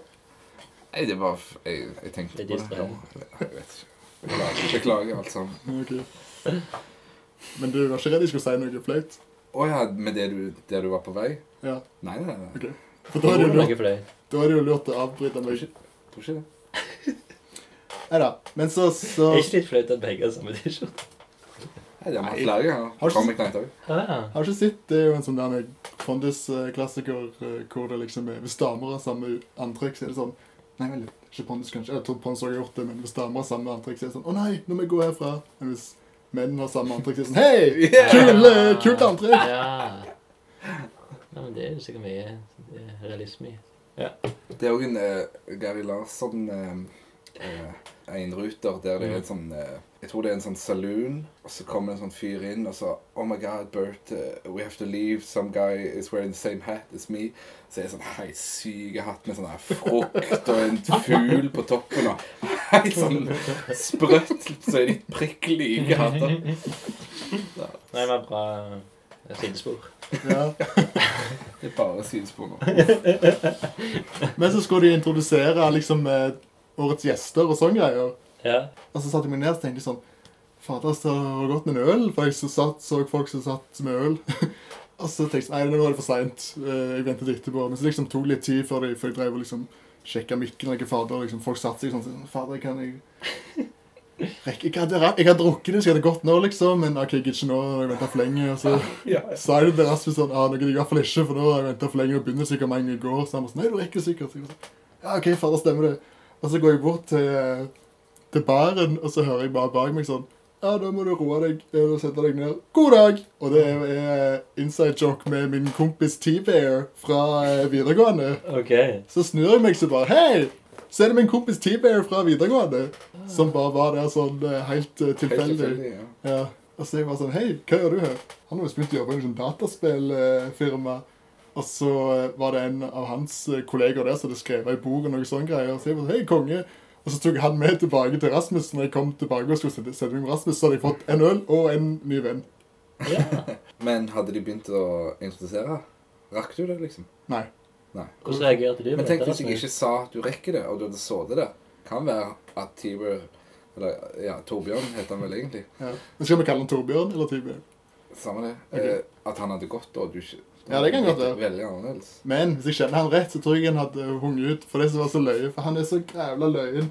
D: Nei, det var f- Jeg, jeg tenkte
B: Det er distrahering.
D: på det. Jeg vet ikke. Beklager, Beklager alt sammen.
C: Ja, Ok. Men du var ikke redd jeg skulle si noe flaut?
D: Å ja, med det du, der du var på vei?
C: Ja.
D: Nei, nei, nei.
C: Ok. For da er det jo lurt,
B: Noe fløyt.
C: da er det jo lurt å avbryte
D: Tror
C: meg.
D: ikke, tror ikke det.
C: Nei da. Men så, så
B: Er ikke litt flaut at begge har samme T-skjorte?
D: Nei, det har
C: Nei.
D: vært flere ganger.
C: Har du-
D: Comic Night òg.
B: Ah,
C: Har du ikke sett det er jo en sånn der Pondus-klassiker eh, hvor det liksom er Hvis damer har samme antrekk, så er det sånn Nei, vel, ikke Pondus, kanskje. Jeg tror Pondus også har gjort det, men hvis damer har samme antrekk, så er det sånn Å nei, nå må jeg gå herfra. Men hvis menn har samme antrekk, så er det sånn Hei!
D: Yeah!
C: Kul, eh, kult antrekk!
B: ja. ja, men det er jo sikkert mye eh, realisme i.
D: Det er òg en eh, Gary Larsson eh, eh, Einruter der det er et sånn eh, Jeg tror det er en sånn saloon, og så kommer det en sånn fyr inn og så Oh my God, Bert, eh, we have to leave. Some guy is wearing the same hat as me. Så er det sånn helt syke hatt med sånn her frukt og en fugl på toppen og helt sånn sprøtt, så er de prikk like hatter.
B: Nei, det var bra eh, sidespor.
C: Ja.
D: Det er bare sidespor nå.
C: Men så skulle de introdusere liksom eh, årets gjester og sånne greier.
B: Ja.
C: Og så satte jeg meg ned og tenkte jeg sånn Fader, så godt med en øl. For jeg så, satt, så folk som satt med øl. og så tenkte jeg nei, nå er det for seint. Jeg ventet etterpå. Men så liksom tok det litt tid før jeg, før jeg drev og liksom sjekka mikken. og ikke fader, og liksom Folk satte seg sånn sånn, Fader, kan jeg rekke Jeg hadde, jeg hadde drukket det, så jeg hadde gått nå, liksom. Men OK, jeg gidder ikke nå. Jeg venta for lenge. Og så
D: Ja,
C: sa jeg det til Rasmus sånn, ah, nå gidder jeg i hvert fall ikke, for nå har jeg ventet for lenge, og begynner sikkert mange i går, så han var sånn, nei, du rekker det sikkert. Så jeg var sånn, ja, ok, fader, stemmer det. Og så går jeg bort til, eh, til baren, og så hører jeg bare bak meg sånn, ja, da må du roe deg, eh, og sette deg ned. God dag! Og det er eh, inside joke med min kompis T-Bear fra eh, videregående.
B: OK.
C: Så snur jeg meg så bare Hei! Så er det min kompis T-Bear fra videregående. Som bare var der sånn eh, helt eh,
D: helt
C: tilfeldig.
D: tilfeldig, ja.
C: Ja. Og så jeg var sånn Hei, hva gjør du her? Han hadde visst begynt å jobbe i en sånn dataspillfirma. Og så eh, var det en av hans eh, kolleger der som hadde skrevet ei bok og noe sånn greier. Og så jeg var sånn Hei, konge. Og så tok han med tilbake til Rasmus. Når jeg kom tilbake og skulle sette, sette meg med Rasmus, så hadde jeg fått en øl og en ny venn.
B: Ja.
D: Men hadde de begynt å introdusere? Rakk du det, liksom?
C: Nei.
D: Nei.
B: Hvordan reagerte du? på dette,
D: Men tenk hvis jeg
B: Rasmus?
D: ikke sa at du rekker det, og du hadde sittet der. Kan være at Tiber Eller ja, Torbjørn heter han vel egentlig.
C: Ja. Men Skal vi kalle han Torbjørn eller T-Bear?
D: Samme det.
C: Ok.
D: Eh, at han hadde gått, og du ikke
C: Ja, det kan godt være.
D: Veldig annerledes.
C: Men hvis jeg kjenner han rett, så tror jeg han hadde hunget ut for det som var så løye. For han er så grævla løyen.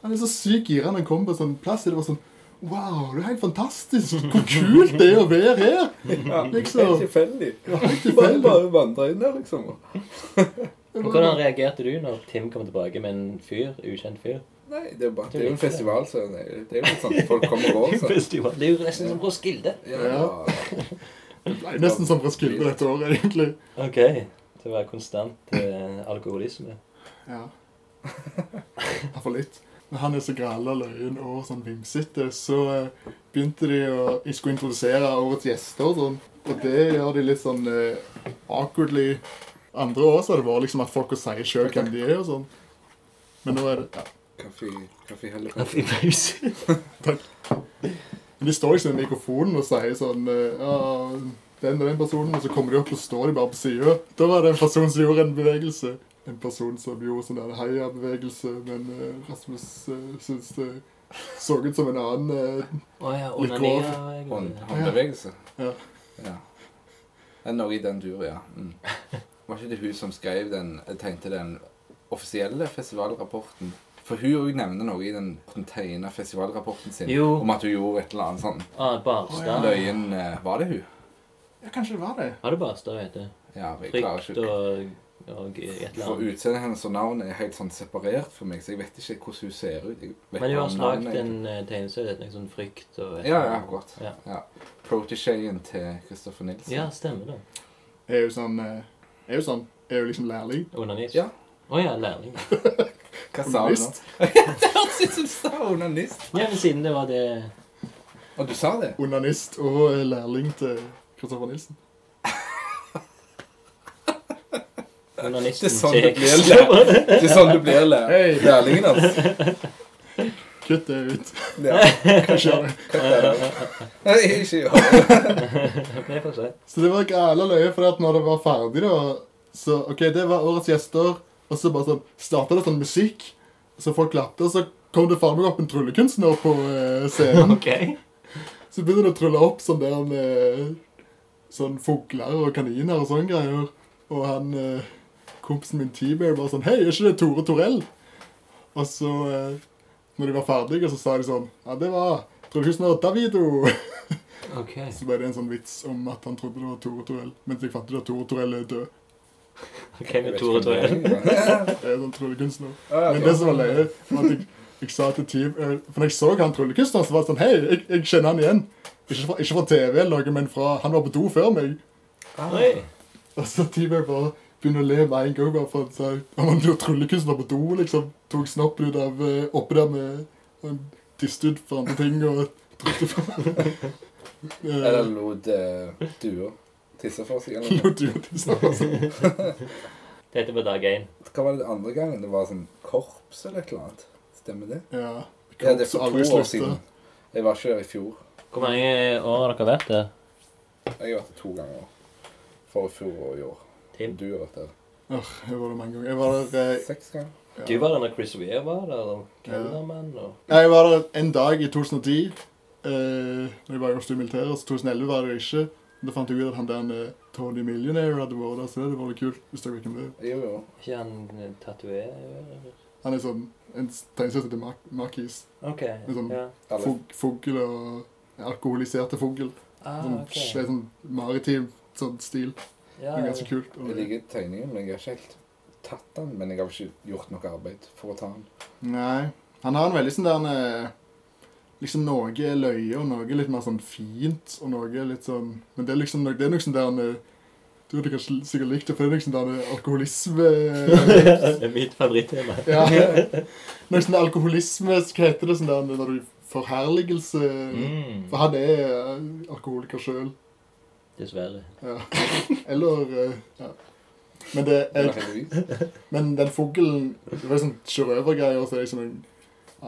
C: Han er så sykt gira når han kommer på en sånn plass. og Det var sånn Wow, det er helt fantastisk! Hvor kult det er å være her! liksom.
D: Helt tilfeldig.
C: Det var helt
D: Du bare,
C: tilfeldig.
D: bare vandra inn der, liksom.
C: Det
B: Men
C: var-
B: Hvordan reagerte du når Tim kom tilbake med en fyr, ukjent fyr?
D: Nei, det er, jo bare, det er jo en festival, så det er det er jo litt sånn folk kommer og går. Så.
B: Det er jo nesten som Roskilde.
D: Ja,
C: Ja. Det ble nesten som Roskilde dette året, egentlig.
B: OK. Det var konstant eh, alkoholisme.
C: Ja. Iallfall litt. Men han er så græla løyen og sånn vimsete, så eh, begynte de å de skulle introdusere årets gjester og sånn. Og det gjør de litt sånn eh, awkwardly. Andre år så har det vært liksom at folk sier sjøl hvem de er og sånn. Men nå er det ja.
D: Kaffe, kaffe heller på.
B: Kaffepause.
C: Men de står liksom i mikrofonen og sier sånn eh, Ja, den og den personen, og så kommer de opp og står de bare på sida. Da var det en person som gjorde en bevegelse. En person som gjorde sånn der heia-bevegelse, men eh, Rasmus uh, syns det så ut som en annen eh,
B: Å ja.
C: Litt
B: Onania.
D: Hånd,
B: jeg-
D: håndbevegelse.
C: Ja.
D: Ja. Det er noe i den duren, ja. Mm. Var ikke det hun som skrev den, tegnte den offisielle festivalrapporten? For hun også nevner noe i den den tegna festivalrapporten sin
B: Jo.
D: om at hun gjorde et eller annet sånn
B: Ah, Barstad.
D: løyen eh, Var det hun?
C: Ja, kanskje det var det.
B: Har du Barstad, vet du?
D: Ja, jeg klarer
B: Frykt
D: ikke
B: og, og et eller
D: For
B: annet.
D: utseendet hennes og navnet er helt sånn separert for meg, så jeg vet ikke hvordan hun ser ut. Jeg vet
B: Men du
D: bare
B: har
D: navnet,
B: slagt
D: jeg-
B: en eh, tegneserie som liksom Frykt og
D: Ja, ja, akkurat.
B: Ja.
D: Ja. Protégéen til Christopher Nilsen.
B: Ja, stemmer det.
C: Er jo sånn eh, Er jo sånn Er jo liksom lærling.
B: Onanist.
D: Ja.
B: Å ja, lærling.
D: Hva sa hun nå?
C: Onanist.
D: Det hørtes ut som du sa onanist.
B: Ja, men siden det var det
D: Og du sa det?
C: Onanist og eh, lærling til Kristoffer Nilsen.
B: onanisten
D: Det er sånn det
B: til-
D: blir lært. Det er sånn du blir lært.
C: Hei.
D: Lærlingen, altså.
C: Kutt det ut.
D: Ja.
C: Kanskje gjør det.
D: Nei, ikke gjør det.
B: Vi får se.
C: Så det var gæla løye, for at når det var ferdig, da Så OK, det var årets gjester. Og så bare sånn starta det sånn musikk, så folk klappte, og så kom det faen meg opp en tryllekunstner på eh, scenen.
B: OK.
C: Så begynte det å trylle opp sånn der med sånn fugler og kaniner og sånne greier. Og han eh, kompisen min T-Bear bare sånn Hei, er ikke det Tore Torell? Og så, eh, når de var ferdige, så sa de sånn Ja, det var tryllekunstner Davido.
B: ok.
C: Så ble det en sånn vits om at han trodde det var Tore Torell, mens jeg fant ut at Tore Torell er død.
B: Ok, med Tore Torell.
D: Torell.
C: Jeg er sånn tryllekunstner.
D: Ja,
C: Men det som var løye, var at jeg, jeg sa til Team eh, For når jeg så han tryllekunstneren, så var det sånn Hei, jeg, jeg kjenner han igjen. Ikke fra, ikke fra TV eller noe, men fra Han var på do før meg.
D: Ah.
B: Oi.
C: Og så Team jeg bare begynner å le med en gang, bare for han sa om han var tryllekunstner på do, liksom. Tok snoppen ut av eh, oppe der med Han tiste ut for andre ting og trykte på Eh,
D: Eller lot eh, duer tisse for seg, eller noe.
C: lot jo tisse på seg.
B: Dette var dag én.
D: Hva var det den andre gangen? Det var sånn korps eller et eller annet. Stemmer det?
C: Ja.
D: Ja, det er
C: Så
D: for
C: aldri
D: to år
C: slutter.
D: siden. Jeg var ikke der i fjor.
B: Hvor mange år har dere vært der?
D: Jeg har vært der to ganger. For i fjor og i år.
B: Tim?
D: Du har vært der
C: Åh, jeg var der mange ganger. Jeg var der eh,
D: seks ganger.
C: ja.
B: Du var der når Chris Weir var der, og
C: Ja.
B: Kellermann og
C: Nei, Jeg var der en dag i 2010. Eh, når jeg var i Oslo i militæret, så 2011 var det jo ikke. Da fant jeg ut at han der eh, Tony Millionaire hadde vært der, så det var litt kult. hvis dere vet hvem det er.
D: Jo, jo.
B: Ikke han eh, tatoverer?
C: Han er sånn en tegnesetter til Mark Markis.
B: OK.
C: er sånn-
B: Ja.
D: Alle.
C: Fug- Fugl og en alkoholiserte fugl.
B: Ah,
C: Sånn,
B: ok.
C: svær, sånn maritim sånn stil.
B: Ja,
C: Det er
B: ja.
C: ganske kult. Og
D: Jeg liker tegningen, men jeg har ikke helt tatt den. Men jeg har ikke gjort noe arbeid for å ta den.
C: Nei. Han har en veldig sånn der eh, Liksom noe er løye, og noe er litt mer sånn fint, og noe er litt sånn Men det er liksom noe, det er noe sånn der eh, Du hadde kanskje sikkert likt det, for det er liksom der eh, alkoholisme
B: det er mitt favorittema.
C: Ja. Noe sånn alkoholisme, hva heter det sånn der når du Forherligelse
B: Mm.
C: For han er eh, alkoholiker sjøl.
B: Dessverre.
C: Ja. Eller eh, Ja. Men det
D: Men
C: er
D: heldigvis.
C: Men den fuglen Det var sånn sjørøvergreier, så er det liksom en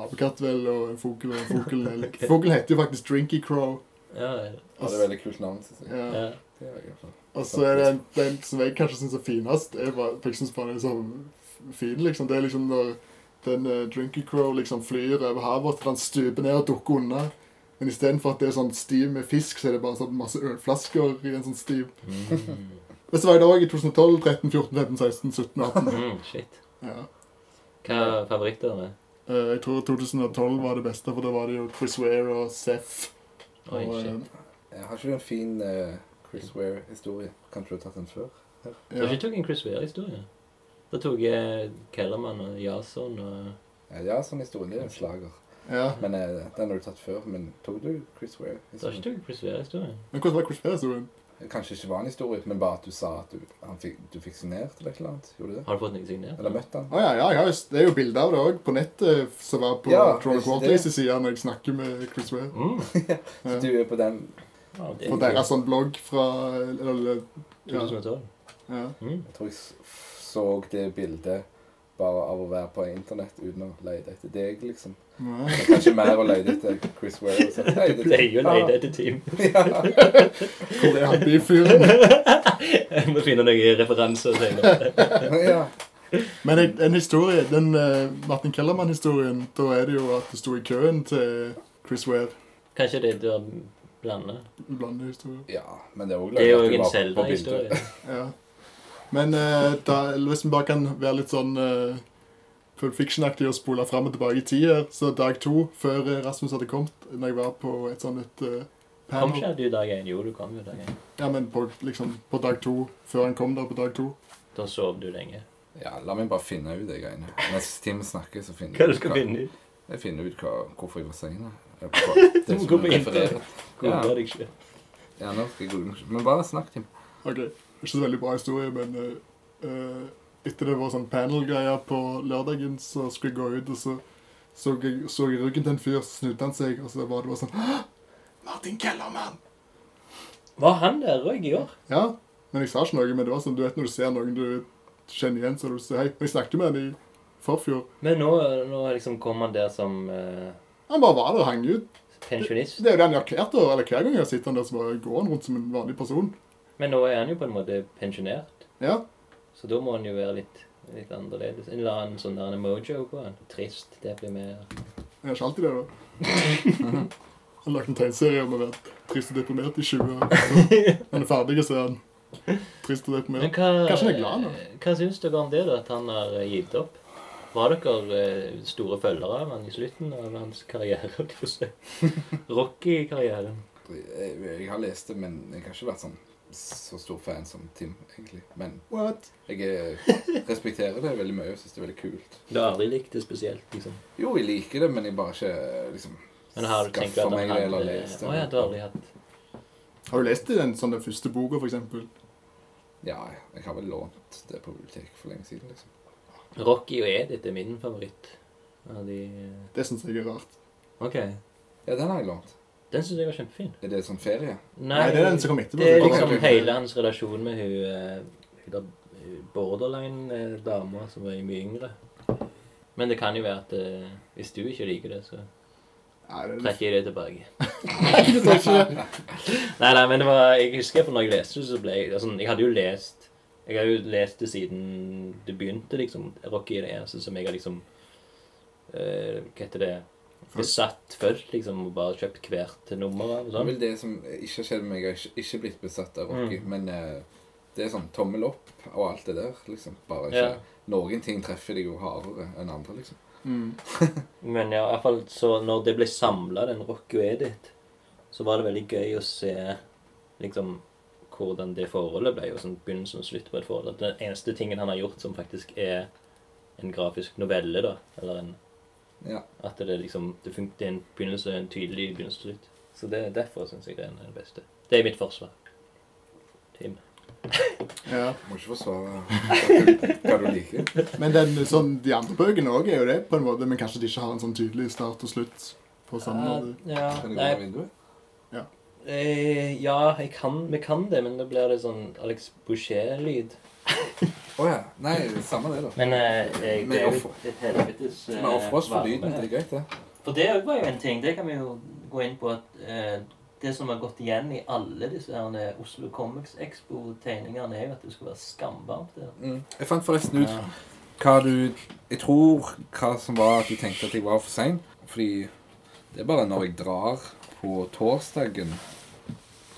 C: apekatt vel, og en fugl og en fugl. okay. Fuglen heter jo faktisk Drinky Crow.
B: Ja,
D: Ja, det er et veldig kult navn. Synes jeg.
C: Ja.
B: ja.
D: Det er jeg i hvert fall.
C: Og så er det en, den som jeg kanskje syns er finest, er bare, for jeg synes bare den er sånn fin, liksom. Det er liksom når den eh, Drinky Crow liksom flyr over havet, og den stuper ned og dukker unna. Men istedenfor at det er sånn stiv med fisk, så er det bare sånn masse ølflasker i en sånn stiv.
B: Mm.
C: Men så var jeg der òg i 2012, 13, 14, 15, 16, 17, 18.
B: Mm, shit.
C: Ja.
B: Hva er favorittene?
C: Eh, Jeg tror 2012 var det beste, for da var det jo Chris Ware og Seth.
B: Oi,
C: og,
B: shit.
C: eh,
D: Jeg har ikke du en fin eh, Chris Ware-historie? Kanskje du har tatt den før?
B: Du har
C: ja.
B: ikke tatt en Chris Weir-historie? Da tok jeg Kellermann og Jason og
D: Ja, ja sånn historie. Det er en slager.
C: ja.
D: Men eh, den har du tatt før. Men tok du Chris
B: Du har ikke
D: Ware-historien?
B: tatt en Chris Weir-historie?
C: Men hvordan var Chris Ware-historien?
D: Kanskje ikke var en historie, men bare at du sa at du, han fikk, du fikk signert eller et eller annet? Gjorde du det?
B: Har du fått noe signert?
D: Eller møtte han?
C: Å ja, ja, ja, just- det er jo bilder av det òg på nettet eh, som var på
D: Ja,
C: Troll
D: ikke
C: Quarterlys side når jeg snakker med Chris Ware.
B: Mm.
D: Så du er på den
B: Ja, det
C: På
B: er
C: deres sånn blogg fra eller, eller, ja,
B: 2012.
C: ja.
B: Mm.
D: Jeg tror jeg s- så det bildet bare av å være på internett uten å lete etter deg, liksom.
C: Nei.
D: Det er Kanskje mer å lete etter Chris Ware. og så- Hei,
B: Du
D: det-
B: pleier jo å lete etter team.
D: Ja.
C: Hvor er han byfyren?
B: Jeg må finne noen referanser senere.
D: ja.
C: Men en, en historie, den eh, Martin Kellermann-historien, da er det jo at du sto i køen til Chris Ware.
B: Kanskje det er der blander.
C: Blande historier.
D: ja. Men det er òg
B: Det er jo en Zelda-historie.
C: Ja. Men eh, da, eller hvis vi bare kan være litt sånn eh, Pulp Fiction-aktig og spole fram og tilbake i tid her, så dag to, før eh, Rasmus hadde kommet, når jeg var på et sånn et eh,
B: Kom
C: panel
B: ikke du dag én? Jo, du kom jo dag én.
C: Ja, men på, liksom, på dag to, før han kom der på dag to.
B: Da sov du lenge.
D: Ja, la meg bare finne ut de greiene. Mens Tim snakker, så finner
B: Hva
D: jeg
B: du
D: ut
B: skal finne ut?
D: Jeg finner ut hva, hvorfor jeg var sein. Det
B: Du må
D: som
B: gå på
D: jeg refererer.
B: Google
D: Ja.
B: deg selv.
D: Ja, nå skal jeg google. Men bare snakk, Tim.
C: Ok, Ikke så veldig bra historie, men eh, eh, etter det var sånn panel-greier på lørdagen, så skulle jeg gå ut, og så så jeg, så jeg ryggen til en fyr, så snudde han seg, og så var det bare sånn «Hå! Martin Kellermann!
B: Var han der òg i år?
C: Ja, men jeg sa ikke noe, men det var sånn, du vet når du ser noen du kjenner igjen, så du sier hei. Men jeg snakket med han i forfjor.
B: Men nå, nå liksom kom han der som eh,
C: Han bare var der og hang ut.
B: pensjonist.
C: Det er jo det han gjør hvert år, eller hver gang jeg sitter han der, så bare går han rundt som en vanlig person.
B: Men nå er han jo på en måte pensjonert,
C: Ja,
B: så da må han jo være litt, litt annerledes. En eller annen sånn der mojo på han. Trist, deprimert.
C: jeg er ikke alltid det da. Han har lagt en tegneserie om å være trist og deprimert i 20 år. Han er ferdig, så er han trist og
B: Men
C: deprimert.
B: hva, eh,
C: Kanskje han er glad nå?
B: hva syns dere om det, da, at han har eh, gitt opp? Var dere eh, store følgere av han i slutten av hans karriere? holdt jeg på å si? Rocky-karrieren.
D: Jeg, jeg har lest det, men jeg har ikke vært sånn så stor fan som Tim, egentlig. Men
C: What?
D: jeg eh, respekterer det veldig mye og syns det er veldig kult.
B: Du har aldri likt det spesielt, liksom?
D: Jo, jeg liker det, men jeg bare ikke liksom
B: Men har du tenkt at
D: skaffer
B: han
D: meg det
B: hadde
D: eller
B: Å
D: lest det.
B: ja, du har aldri hatt
C: Har du lest i den, sånn, den første boka, for eksempel?
D: Ja, jeg har vel lånt det på biblioteket for lenge siden, liksom.
B: Rocky og Edith er min favoritt. Av de eh.
C: Det synes jeg er rart.
B: OK.
D: Ja, den har jeg lånt.
B: Den syns jeg var kjempefin.
D: Er det sånn ferie?
B: Nei,
C: Nei, det er den som kom etterpå.
B: det er
C: som-
B: liksom
D: Ok.
B: hele hans relasjon med hun, eh, hun der- hun borderline-dama eh, som var mye yngre. Men det kan jo være at eh, hvis du ikke liker det, så
C: Nei, det er
B: trekker jeg det tilbake.
C: du tar ikke det.
B: Nei, nei, men det var, jeg husker for når jeg leste det, så ble jeg altså, Jeg hadde jo lest Jeg har jo lest det siden det begynte, liksom. Rocky er det eneste som jeg har liksom eh, Hva heter det Besatt fullt, liksom, og bare kjøpt hvert nummer av og
D: Det er
B: sånn.
D: vel det som ikke har skjedd med meg. Jeg har ikke- ikke blitt besatt av Rocky.
B: Mm.
D: Men eh, det er sånn tommel opp og alt det der, liksom. Bare
B: Ja.
D: ikke Noen ting treffer deg jo hardere enn andre, liksom.
C: Mm.
B: Men ja, i hvert fall så når det ble samla, den Rocky og Edith, så var det veldig gøy å se liksom hvordan det forholdet ble, og sånn begynnelsen og slutt på et forhold. At Den eneste tingen han har gjort som faktisk er en grafisk novelle, da, eller en
D: Ja.
B: At det liksom det, fun- det er en begynnelse, en tydelig begynnelse og slutt. Så det er derfor syns jeg det er den beste. Det er mitt forsvar. Tim.
C: Ja.
D: Må ikke forsvare hva du liker.
C: Men den, sånn, de andre bøkene òg er jo det, på en måte, men kanskje de ikke har en sånn tydelig start og slutt på samme måte.
B: Eh, ja,
D: Kan du gå
B: nei,
D: av vinduet?
B: eh, ja, jeg kan, vi kan det, men da blir det sånn Alex Boucher-lyd.
D: Å ja. Nei, samme det, da.
B: Men eh, jeg,
D: Vi
B: det er jo
D: offer-
B: et helvetes eh,
D: Vi ofrer oss for
B: varme.
D: lyden. Det er greit, det.
B: For det var jo en ting. Det kan vi jo gå inn på at eh, det som har gått igjen i alle disse herne Oslo Comics Expo-tegningene, er jo at det skal være skamvarmt der.
D: Mm. Jeg fant forresten ut
B: Ja.
D: hva du Jeg tror hva som var at du tenkte at jeg var for sein. Fordi det er bare når jeg drar på torsdagen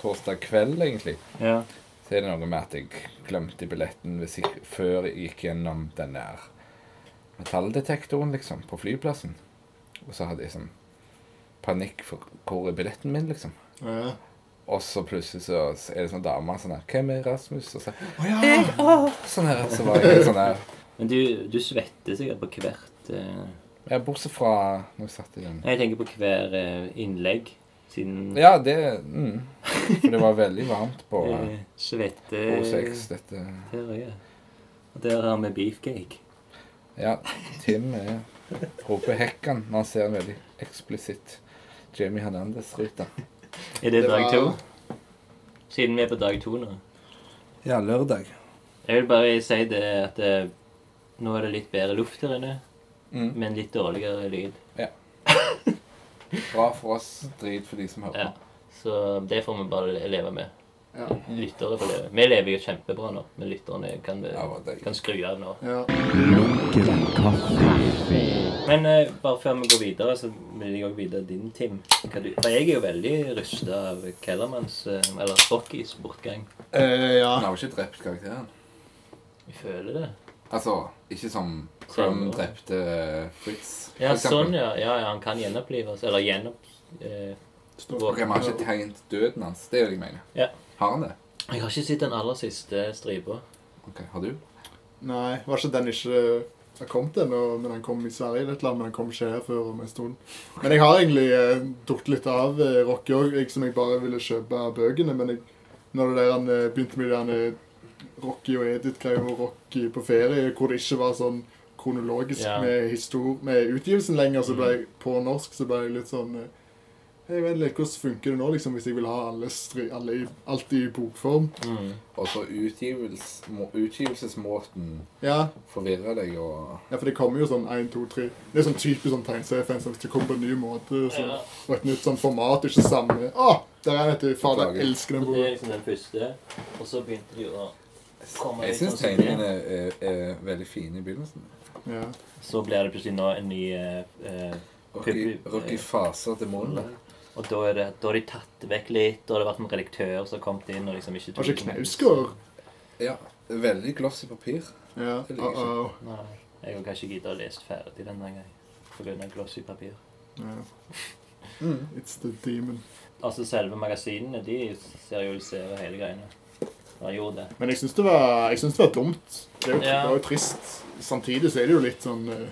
D: Torsdag kveld, egentlig.
B: Ja.
D: Så er det noe med at jeg glemte billetten hvis jeg, før jeg gikk gjennom den der metalldetektoren, liksom, på flyplassen. Og så hadde jeg sånn panikk for hvor er billetten min, liksom.
C: Ja.
D: Og så plutselig så er det sånn dame sånn her Hvem er Rasmus? Og så,
C: Å ja!
D: sånn her, så var jeg helt sånn her
B: Men du, du svetter sikkert på hvert eh,
D: Ja, bortsett fra når jeg satt i den
B: Jeg tenker på hver eh, innlegg. Siden
D: Ja, det mm. For det var veldig varmt på
B: eh, svette
D: O6, dette
B: Der, ja. Og der har vi beefcake.
D: Ja, Tim er roper hekkan når han ser en veldig eksplisitt Jamie Hernandez-ryte.
B: Er det,
C: Det
B: dag
C: var-
B: to? Siden vi er på dag to nå.
D: Ja, lørdag.
B: Jeg vil bare si det at eh, nå er det litt bedre luft her inne,
D: Mm.
B: men litt dårligere lyd.
D: Bra for oss, drit for de som
B: Ja.
D: hører på.
B: Så det får vi bare leve med.
C: ja.
B: Lyttere får leve. Vi lever jo kjempebra nå, men lytterne kan, vi,
D: Ja, det er
B: kan skru av nå.
C: ja.
A: Lunken kaffe.
B: Men eh, bare før vi går videre, så vil jeg òg vite din, Tim. Hva du, for jeg er jo veldig rysta av Kellermanns, eh, eller Rockys, bortgang.
C: Eh, ja.
D: Han har jo ikke drept karakteren.
B: Jeg føler det. Altså,
D: Altså, ikke som Crumb drepte eh, Fritz.
B: Sånn.
D: for
B: Ja,
D: eksempel.
B: sånn, ja. ja. Ja, han kan gjenopplives. Eller gjenopp... Eh,
C: Stopp.
D: Ok, Vi har ikke tegnet døden hans. Det er det jeg mener.
B: Ja.
D: Har han det?
B: jeg har ikke sett den aller siste stripa.
D: Ok, Har du?
C: Nei, var ikke den ikke eh, har kommet ennå, men den kom i Sverige litt, men den kom ikke her før om en stund. Men jeg har egentlig eh, dukt litt av eh, Rocky òg, jeg som jeg bare ville kjøpe bøkene, men jeg, når det der han eh, begynte med den eh, Rocky og Edith-greia og Rocky på ferie, hvor det ikke var sånn kronologisk
B: Ja.
C: med, histor med utgivelsen lenger, så ble jeg på norsk, så ble jeg litt sånn eh, Hei, vent litt, hvordan funker det nå, liksom, hvis jeg vil ha alle stri alle i, alt i bokform?
B: Mm.
D: Og så utgivels, må, utgivelsesmåten
C: Ja,
D: forvirrer deg og
C: Ja, for det kommer jo sånn 1, 2, 3 Det er sånn typisk sånn tegneseriefans som kommer på en ny måte. Så,
B: Ja.
C: Og et nytt sånn format. Ikke samme Å! Der er den, vet du. Fader, jeg elsker den
B: Så det er
C: boka.
B: liksom den første. Og så begynte de å komme sånn
D: Jeg syns tegningene er, er veldig fine i begynnelsen.
C: Ja.
B: Så blir det plutselig nå en ny eh, eh,
D: Rocky, Rocky faser demonene.
B: Og da er det, da har de tatt vekk litt, da har det vært en redaktør som har kommet inn og liksom ikke
C: Var ikke Knausgård?
D: Ja, veldig glossy papir.
C: Ja.
D: Det liker
C: Uh -oh.
B: Nei. Jeg har kanskje giddet å lese ferdig denne gangen. På grunn av glossy papir.
C: ja.
D: Mm.
C: It's the demon.
B: Altså selve magasinene, de serialiserer hele greiene. Har gjort det.
C: Men jeg syns det, var- jeg syns det var dumt. Det er jo,
B: Ja.
C: det var jo trist. Samtidig så er det jo litt sånn eh,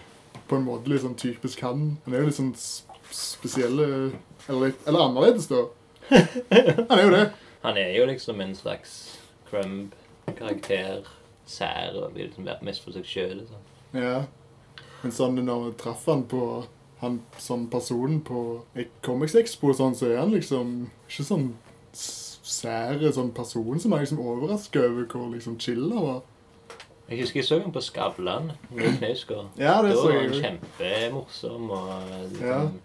C: På en måte litt sånn typisk han. Han er jo litt sånn s- spesielle Eller, litt, eller annerledes, da. Han er jo det.
B: Han er jo liksom en slags crumb-karakter. Sær og vil liksom være mest for seg sjøl. Liksom.
C: Ja. Men sånn når jeg traff han på han som person på et Comics Expo, og sånn, så er han liksom ikke sånn s- sære sånn person som er liksom overraska over hvor liksom chill han var.
B: Jeg husker jeg så ham på Skavlan med Knausgård.
C: Ja,
B: Da
C: det så
B: var
C: jeg
B: han
C: jo.
B: kjempemorsom og
C: Ja.
B: liksom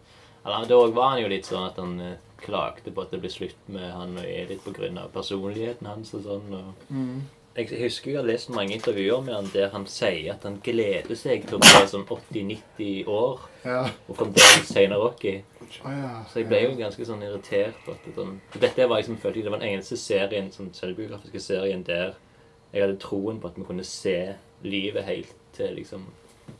B: Eller, da var han jo litt sånn at han eh, klagde på at det ble slutt med han og Edith pga. personligheten hans og sånn. Og...
C: Mm.
B: Jeg husker jeg har lest mange intervjuer med han der han sier at han gleder seg til å bli sånn 80-90 år
C: Ja.
B: og fremdeles tegne Rocky.
C: Å Ah, ja.
B: Så jeg ble jo ganske sånn irritert. på At det, sånn, dette var liksom, følte jeg det var den eneste serien, sånn selvbiografiske serien der jeg hadde troen på at vi kunne se livet helt til liksom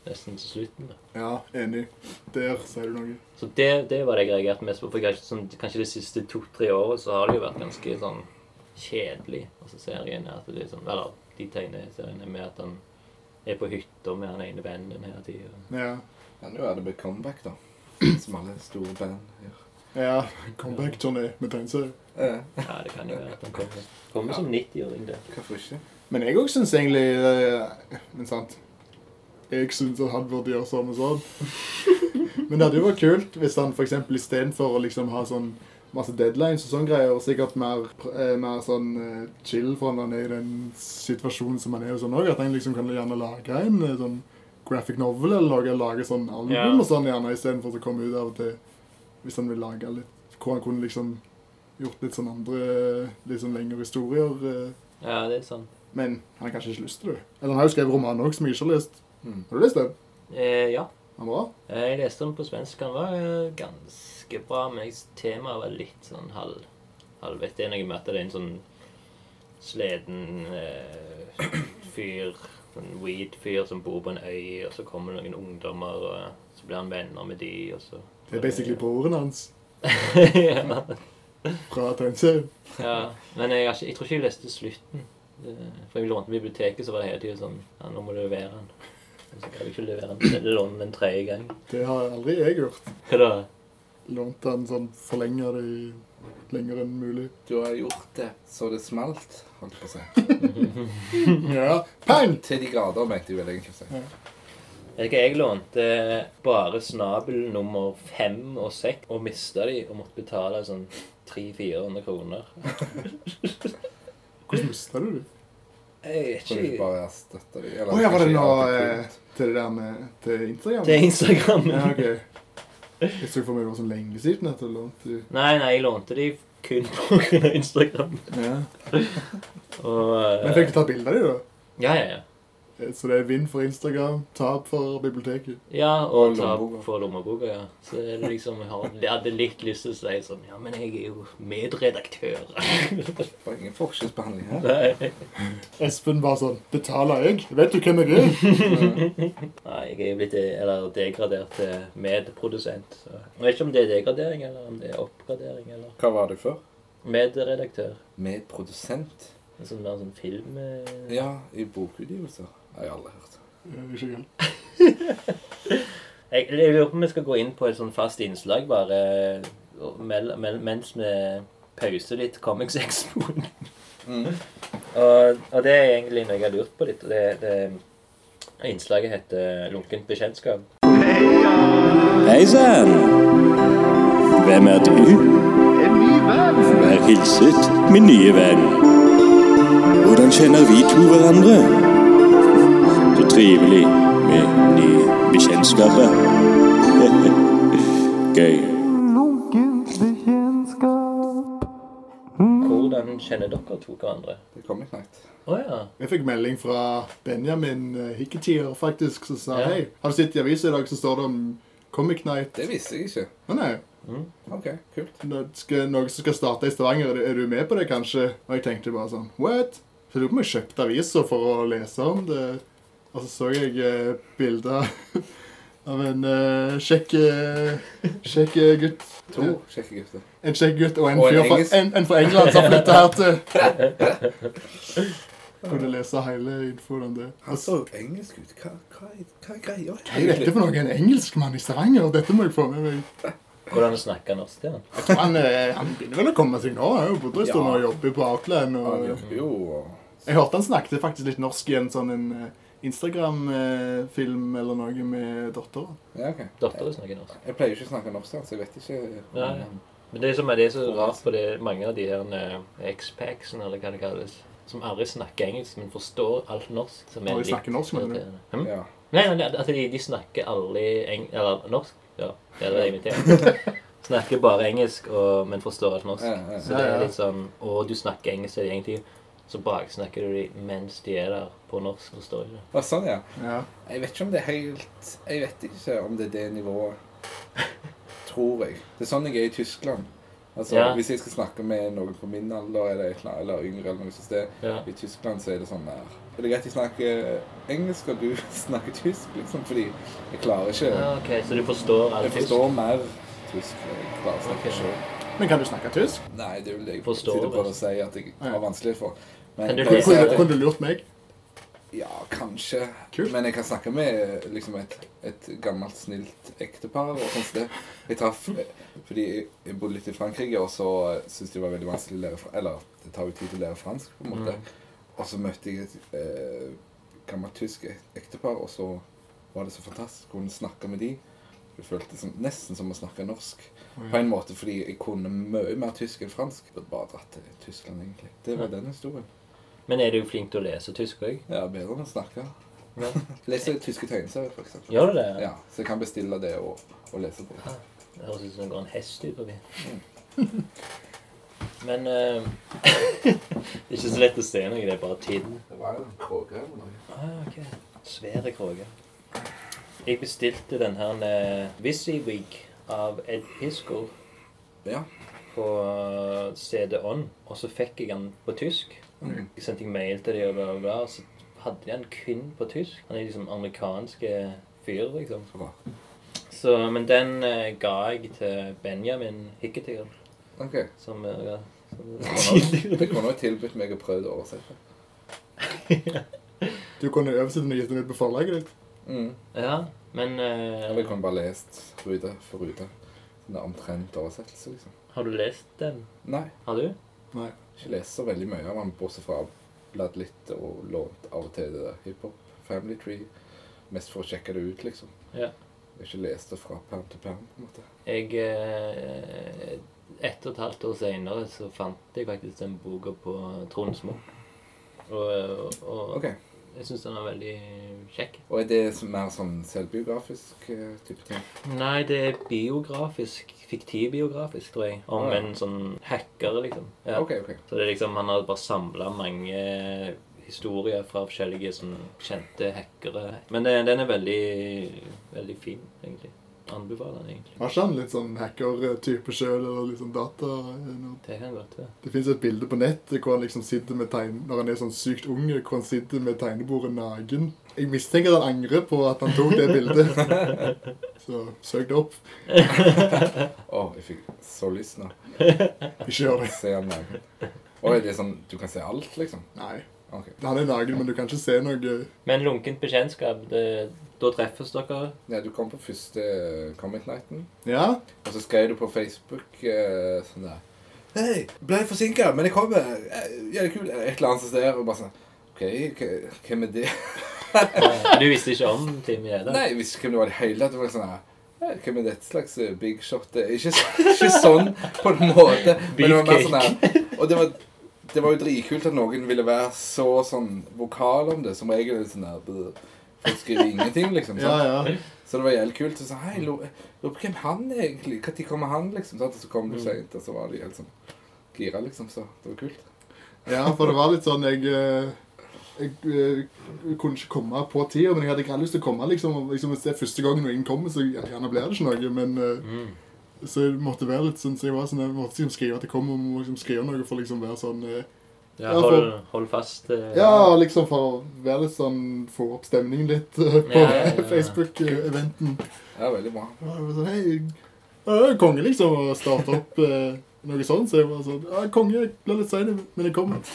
B: nesten til slutten. da.
C: ja, enig. Der sier du noe.
B: Så det, det var det jeg reagerte mest på. For kanskje, sånn, kanskje de siste to-tre årene så har det jo vært ganske sånn kjedelig. Altså serien er at det er sånn, Eller de tegneseriene med at han er på hytta med han ene vennen hele tida.
C: Ja.
D: Men nå er det med comeback, da. Som alle store band gjør.
C: ja. Comeback-turné med tegneserie.
D: Eh,
B: Ja, det kan jo være at han kommer. Kommer som 90-åring, det.
D: hvorfor ikke?
C: Men jeg òg syns egentlig eh, Men sant. Jeg syns at han burde gjøre sånn og sånn. Men det hadde jo vært kult hvis han f.eks. istedenfor å liksom ha sånn masse deadlines og sånn greier, og sikkert mer, pr- eh, mer sånn eh, chill for når han er i den situasjonen som han er i og sånn òg, at han liksom kan gjerne lage en eh, sånn graphic novel eller lage, lage sånn album
B: Ja.
C: og sånn gjerne istedenfor å komme ut av og til hvis han vil lage litt Hvor han kunne liksom gjort litt sånn andre, litt sånn lengre historier. eh,
B: Ja, det er sant.
C: men han har kanskje ikke lyst til det. Eller han har jo skrevet roman også, som jeg ikke har lest.
D: Mm.
C: Har du lest den?
B: Eh, ja.
C: Han bra?
B: Eh, Jeg leste den på svensk. Den var eh, ganske bra, men jeg- temaet var litt sånn halv... halvvett. Det er noe med at det er en sånn sleden eh, fyr, en weed-fyr som bor på en øy, og så kommer det noen ungdommer, og så blir han venner med de, og så...
C: Det er basically broren hans
B: ja.
C: fra tegneserien.
B: ja. Men jeg, har ikke, jeg tror ikke jeg leste slutten. Det- For jeg lånte biblioteket, så var det hele tiden sånn, ja, nå må du levere den. Og så kan jeg ikke levere den. Jeg lånte den en tredje gang.
C: Det har aldri jeg gjort.
B: Hva da?
C: Lånt han sånn forlenger det i lenger enn mulig.
D: Du har gjort det så det smalt, holdt på å si.
C: Ja, pang!
D: Til de grader, mente jeg vel egentlig å si.
B: Vet du hva, Jeg lånte bare snabel nummer fem og seks og mista de og måtte betale sånn 300-400 kroner.
C: Hvordan mista du det?
B: Jeg vet
D: Kan du ikke
B: ikke.
D: bare erstatte dem?
C: Å ja, var det nå eh, til det der med til Instagram?
B: Det er Instagram.
C: Ja, ok. Jeg så for meg det var så lenge siden at du lånte det.
B: Nei, nei, jeg lånte de kun pga. Instagram.
C: Ja.
B: Og
C: Men
B: eh,
C: fikk du tatt bilde av det, da?
B: Ja, ja, ja.
C: Eh, Så det er vinn for Instagram, tap for biblioteket.
B: Ja, Og
D: Og
B: ta
D: lommeboka.
B: for lommeboka, ja. Så er det liksom Jeg har- jeg hadde litt lyst til å si sånn Ja, men jeg er jo medredaktør.
D: Det var ingen forskjellsbehandling her.
B: Nei.
C: Espen bare sånn Betaler jeg? Vet du hvem jeg er?
B: Nei, jeg er jo blitt de- eller degradert til medprodusent. Så. Jeg vet ikke om det er degradering, eller om det er oppgradering, eller
D: Hva var det før?
B: Medredaktør.
D: Med produsent?
B: En sånn mer sånn film... eh.
D: Ja, i bokutgivelser. Har jeg aldri hørt.
C: Eh, Ikke helt.
B: Jeg, jeg lurer på om vi skal gå inn på et sånn fast innslag, bare og mel, mel, mens vi pauser litt Comics Expoen.
D: Mm.
B: og, og det er egentlig noe jeg har lurt på litt. og Det, det innslaget heter 'Lunkent bekjentskap'.
E: Hei sann! Hvem er du? En ny venn. Vær hilset, min nye venn. Hvordan kjenner vi to hverandre? Så trivelig med nye bekjentskaper. Gøy.
B: Hvordan kjenner dere to hverandre?
D: Det kom ikke langt.
B: Å ja.
C: Jeg fikk melding fra Benjamin eh, Hikketier, faktisk, som sa
B: Ja.
C: hei. Har du sett i avisen i dag, så står det om Comic Night.
D: Det visste jeg ikke.
C: Å nei,
D: OK, kult.
C: det skal, noe som skal starte i Stavanger, er du, er du med på det, kanskje? Og jeg tenkte bare sånn, what? Så jeg lurer på om jeg kjøpte aviser for å lese om det. Og så så jeg eh, bilder av en eh, kjekk, eh, kjekk eh, gutt.
D: To kjekke gutter.
C: En kjekk gutt og en,
D: Og en
C: fyr fra,
D: engelsk.
C: en, en fra England som flytta her til. Kunne lese hele infoen om det.
D: Han så engelsk ut. Hva, hva, er- hva er greia?
C: Hva er dette for noe? En engelskmann i Stavanger? Dette må jeg få med meg.
B: Hvordan snakker norsk til han?
C: Jeg tror han, eh, han begynner vel å komme seg nå. Han har jo bodd en stund og jobber på Outland.
D: Han
C: Og
D: jobber jo og
C: jeg hørte han snakket faktisk litt norsk i en sånn en Instagram-film eller noe med dattera.
D: Ja, OK.
B: Datteren snakker norsk.
D: Jeg pleier jo ikke å snakke norsk, så jeg vet ikke
B: Nei. Men det som er det er så rart på det, mange av de her expacksene, eller hva det kalles, som aldri snakker engelsk, men forstår alt norsk. Som er
C: Aldri
B: litt
C: snakker norsk, mener du?
B: irriterende. Hm?
D: Mm. Ja.
B: Nei, nei, nei, at de, de snakker aldri eng eller norsk. Ja, det hadde vært invitert. Snakker bare engelsk, og, men forstår alt norsk.
D: Ja, ja.
B: Så det er litt sånn Og du snakker engelsk til de egentlig, så baksnakker du de mens de er der på norsk. Forstår ikke.
D: Å, sånn, ja.
C: Ja.
D: Jeg vet ikke om det er helt Jeg vet ikke om det er det nivået. Tror jeg. Det er sånn jeg er i Tyskland. Altså,
B: Ja.
D: Hvis jeg skal snakke med noen på min alder eller, et eller, annet- eller yngre, eller noe sånt sted,
B: Ja.
D: i Tyskland så er det sånn der Er det greit jeg snakker engelsk, og du snakker tysk, liksom? Fordi jeg klarer ikke
B: Ja, ok, Så du forstår alt
D: Jeg forstår mer tysk enn jeg klarer å snakke
B: Ok.
D: selv.
C: Men kan du snakke tysk?
D: Nei, det er vel det jeg
B: Forstår,
D: sitter og prøver
B: altså.
D: å si at jeg har vanskelig for.
B: Kan
D: Men
B: du
D: jeg pleier å si
C: Kunne,
D: at jeg-
C: kunne du lurt meg?
D: Ja, kanskje.
C: Kult.
D: Men jeg kan snakke med liksom et, et gammelt, snilt ektepar. og sånt sted. Jeg traff, eh, fordi jeg bodde litt i Frankrike, og så eh, syntes de det var veldig vanskelig å lære fra- Eller det tar jo tid til å lære fransk, på en måte. Og så møtte jeg et eh, gammelt tysk ektepar, og så var det så fantastisk å kunne snakke med de. Det føltes som, nesten som å snakke norsk. På en måte fordi jeg kunne mye mer tysk enn fransk. Jeg burde bare dratt til Tyskland, egentlig. Det var den historien.
B: Men er du flink til å lese tysk òg?
D: Ja, bedre enn å snakke.
B: Ja.
D: Leser tyske tegneserier, for eksempel.
B: Gjør du det?
D: Ja, så jeg kan bestille det og, og lese på.
B: Det høres ut som det går en hest ut forbi. Mm. Men eh, Det er ikke så lett å se noe, det er bare tiden.
D: Det var en kråke eller noe.
B: Ah, ok. Svære kråke. Jeg bestilte den her eh, Wysiwyg av Ed Pisco
D: Ja.
B: på eh, CD-ON, og så fikk jeg den på tysk.
D: Mm.
B: Jeg sendte en mail til dem, og bla, bla, bla, og så hadde de en kun på tysk. Han er liksom amerikanske fyr, liksom.
D: Bra.
B: Så, men den eh, ga jeg til Benjamin Hicketyr,
D: Ok.
B: som eh, ja, som-
D: Det kunne jo tilbudt meg å prøve å oversette.
C: Du kunne oversett den og gitt den ut på forlaget ditt.
D: Mm.
B: Ja, men eh,
D: Eller jeg kunne bare lest rute for rute. Sånn der omtrent oversettelse, liksom.
B: Har du lest den?
D: Nei,
B: Har du?
C: Nei.
D: ikke lest så veldig mye av den, bortsett fra bladd litt og lånt av og til det der hiphop. Family Tree. Mest for å sjekke det ut, liksom.
B: Ja.
D: Jeg har ikke lest det fra perm til perm, på en måte.
B: Jeg eh, Ett og et halvt år senere så fant jeg faktisk den boka på Trond Munch. Og, og, og
D: Ok.
B: jeg syns den er veldig kjekk.
D: Og er det så- mer sånn selvbiografisk eh, type ting?
B: Nei, det er biografisk. Fiktivbiografisk, tror jeg. Om
D: Ah, ja.
B: en sånn hacker, liksom. Ja.
D: Ok, ok.
B: Så det er liksom, han har bare samla mange historier fra forskjellige sånn, kjente hackere. Men det, den er veldig, veldig fin, egentlig. Anbefaler den egentlig.
C: Var ikke han litt sånn hacker-type sjøl, eller liksom data? eller-
B: Det kan godt være.
C: Det fins et bilde på nettet hvor han liksom sitter med tegn... Når han er sånn sykt ung, hvor han sitter med tegnebordet nagen. Jeg mistenker han angrer på at han tok det bildet. Så søk det opp.
D: Å, jeg fikk så lyst nå.
C: Ikke gjør det.
D: Se han naken. Å, er det sånn du kan se alt, liksom?
C: Nei.
D: Ok.
C: Han er nagen, men du kan ikke se noe.
B: Men lunkent bekjentskap, det, da treffes dere.
D: Ja, du kom på første Comic Nighten,
C: Ja,
D: og så skrev du på Facebook eh, sånn der Hei, ble forsinka, men jeg kommer. Eh, Ja, det er kult. Et eller annet som der, og bare sånn OK, k- hvem er det?
B: Eh, Du visste ikke om Team Gjeda?
D: Nei, jeg visste ikke hvem det var i det hele tatt. Det var sånn her «Eh, hvem er dette slags eh, big shot? Det er ikke, så- ikke sånn på en måte. Men det var mer sånn her Og det var, det var jo dritkult at noen ville være så sånn vokal om det. Som regel er det sånn her «Bø». Folk skriver ingenting, liksom. Sant?
C: ja, ja.
D: Så det var jævlig kult. Så sa hei, lo- lurer på hvem han er egentlig Når kommer han, liksom? Sant? Og så kom du seint, og så var de helt sånn gira, liksom. Så det var kult.
C: Ja, for det var litt sånn Jeg, eh, jeg, eh, kunne ikke komme på tida, men jeg hadde ikke lyst til å komme. liksom, og liksom Hvis det er første gangen noen kommer, så gjerne blir det ikke noe. Men eh,
D: Mm.
C: så jeg måtte være litt sånn, så jeg var sånn, jeg måtte liksom skrive at jeg kom, og må liksom skrive noe for liksom være sånn eh,
B: Ja, hold, hold fast. eh,
C: Ja, liksom for å være litt sånn Få opp stemningen litt eh, på
B: Ja, ja, ja.
C: Facebook-eventen.
D: Ja, veldig bra.
C: Og jeg var sånn, hei, jeg er konge liksom, og startet opp eh, noe sånt, så jeg var sånn, ja, konge, jeg ble litt sein, men jeg kommer.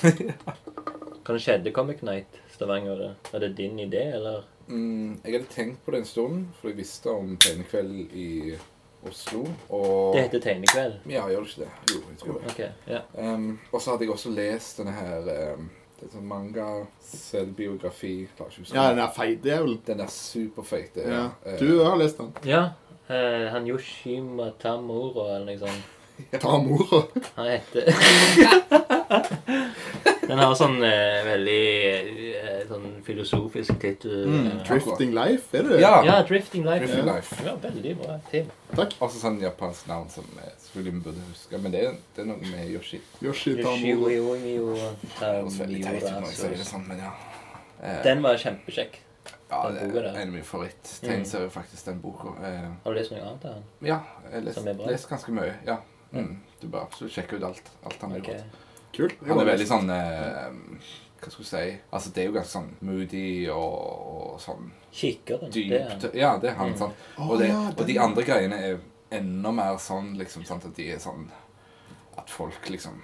B: Hva skjedde Comic Night Stavanger? da? Var det din idé, eller?
D: Mm, jeg hadde tenkt på det en stund, for jeg visste om tegnekveld i Oslo. Og
B: Det heter Tegnekveld.
D: Ja, gjør det ikke det? Jo, jeg tror det.
B: Ok, ja.
D: Ehm, og så hadde jeg også lest denne her ehm, det er sånn manga, selvbiografi klarer ikke å huske
C: Ja,
D: den.
C: den er feit, det er vel.
D: Den er superfeite.
C: Ja.
D: eh,
C: Du har lest den.
B: Ja, eh, han Yoshima Tamura, eller noe sånt.
C: Ta mora.
B: Han heter Den har sånn eh, veldig eh, sånn filosofisk tittel. eh,
C: Drifting Life, er det det?
D: Ja.
B: Ja, Drifting Life.
D: Mm. Drifting
B: ja.
D: Life.
B: Ja, veldig bra tema.
C: Takk.
D: Også sånn japansk navn som jeg selvfølgelig vi burde huske. Men det er, det er noe med Yoshi.
C: Yoshi
B: Shiro,
C: Tamura.
B: Io, Io,
D: Det
B: Tam,
D: høres veldig teit ut
B: Miura,
D: når jeg sier det
B: så-
D: sånn, men ja.
B: Den var kjempekjekk.
D: ja
B: den
D: det
B: boka
D: er
B: der. Mm.
D: en av mine favoritttegneserier, faktisk, den boka. Eh,
B: Har du lest noe annet av den?
D: Ja, jeg les,
B: Som er bra?
D: leser ganske mye. Ja. Mm. Du bør absolutt sjekke ut alt, alt han har
B: Ok.
D: gjort.
C: Kult.
D: Han er veldig sånn eh, Hva skal du si Altså, det er jo ganske sånn moody og, og sånn
B: Kikkeren. det er Mm.
D: dypt
B: den.
D: Ja, det er han, sant. Og, det,
C: Å, ja,
D: og de
C: den.
D: andre greiene er enda mer sånn liksom sant, at de er sånn At folk liksom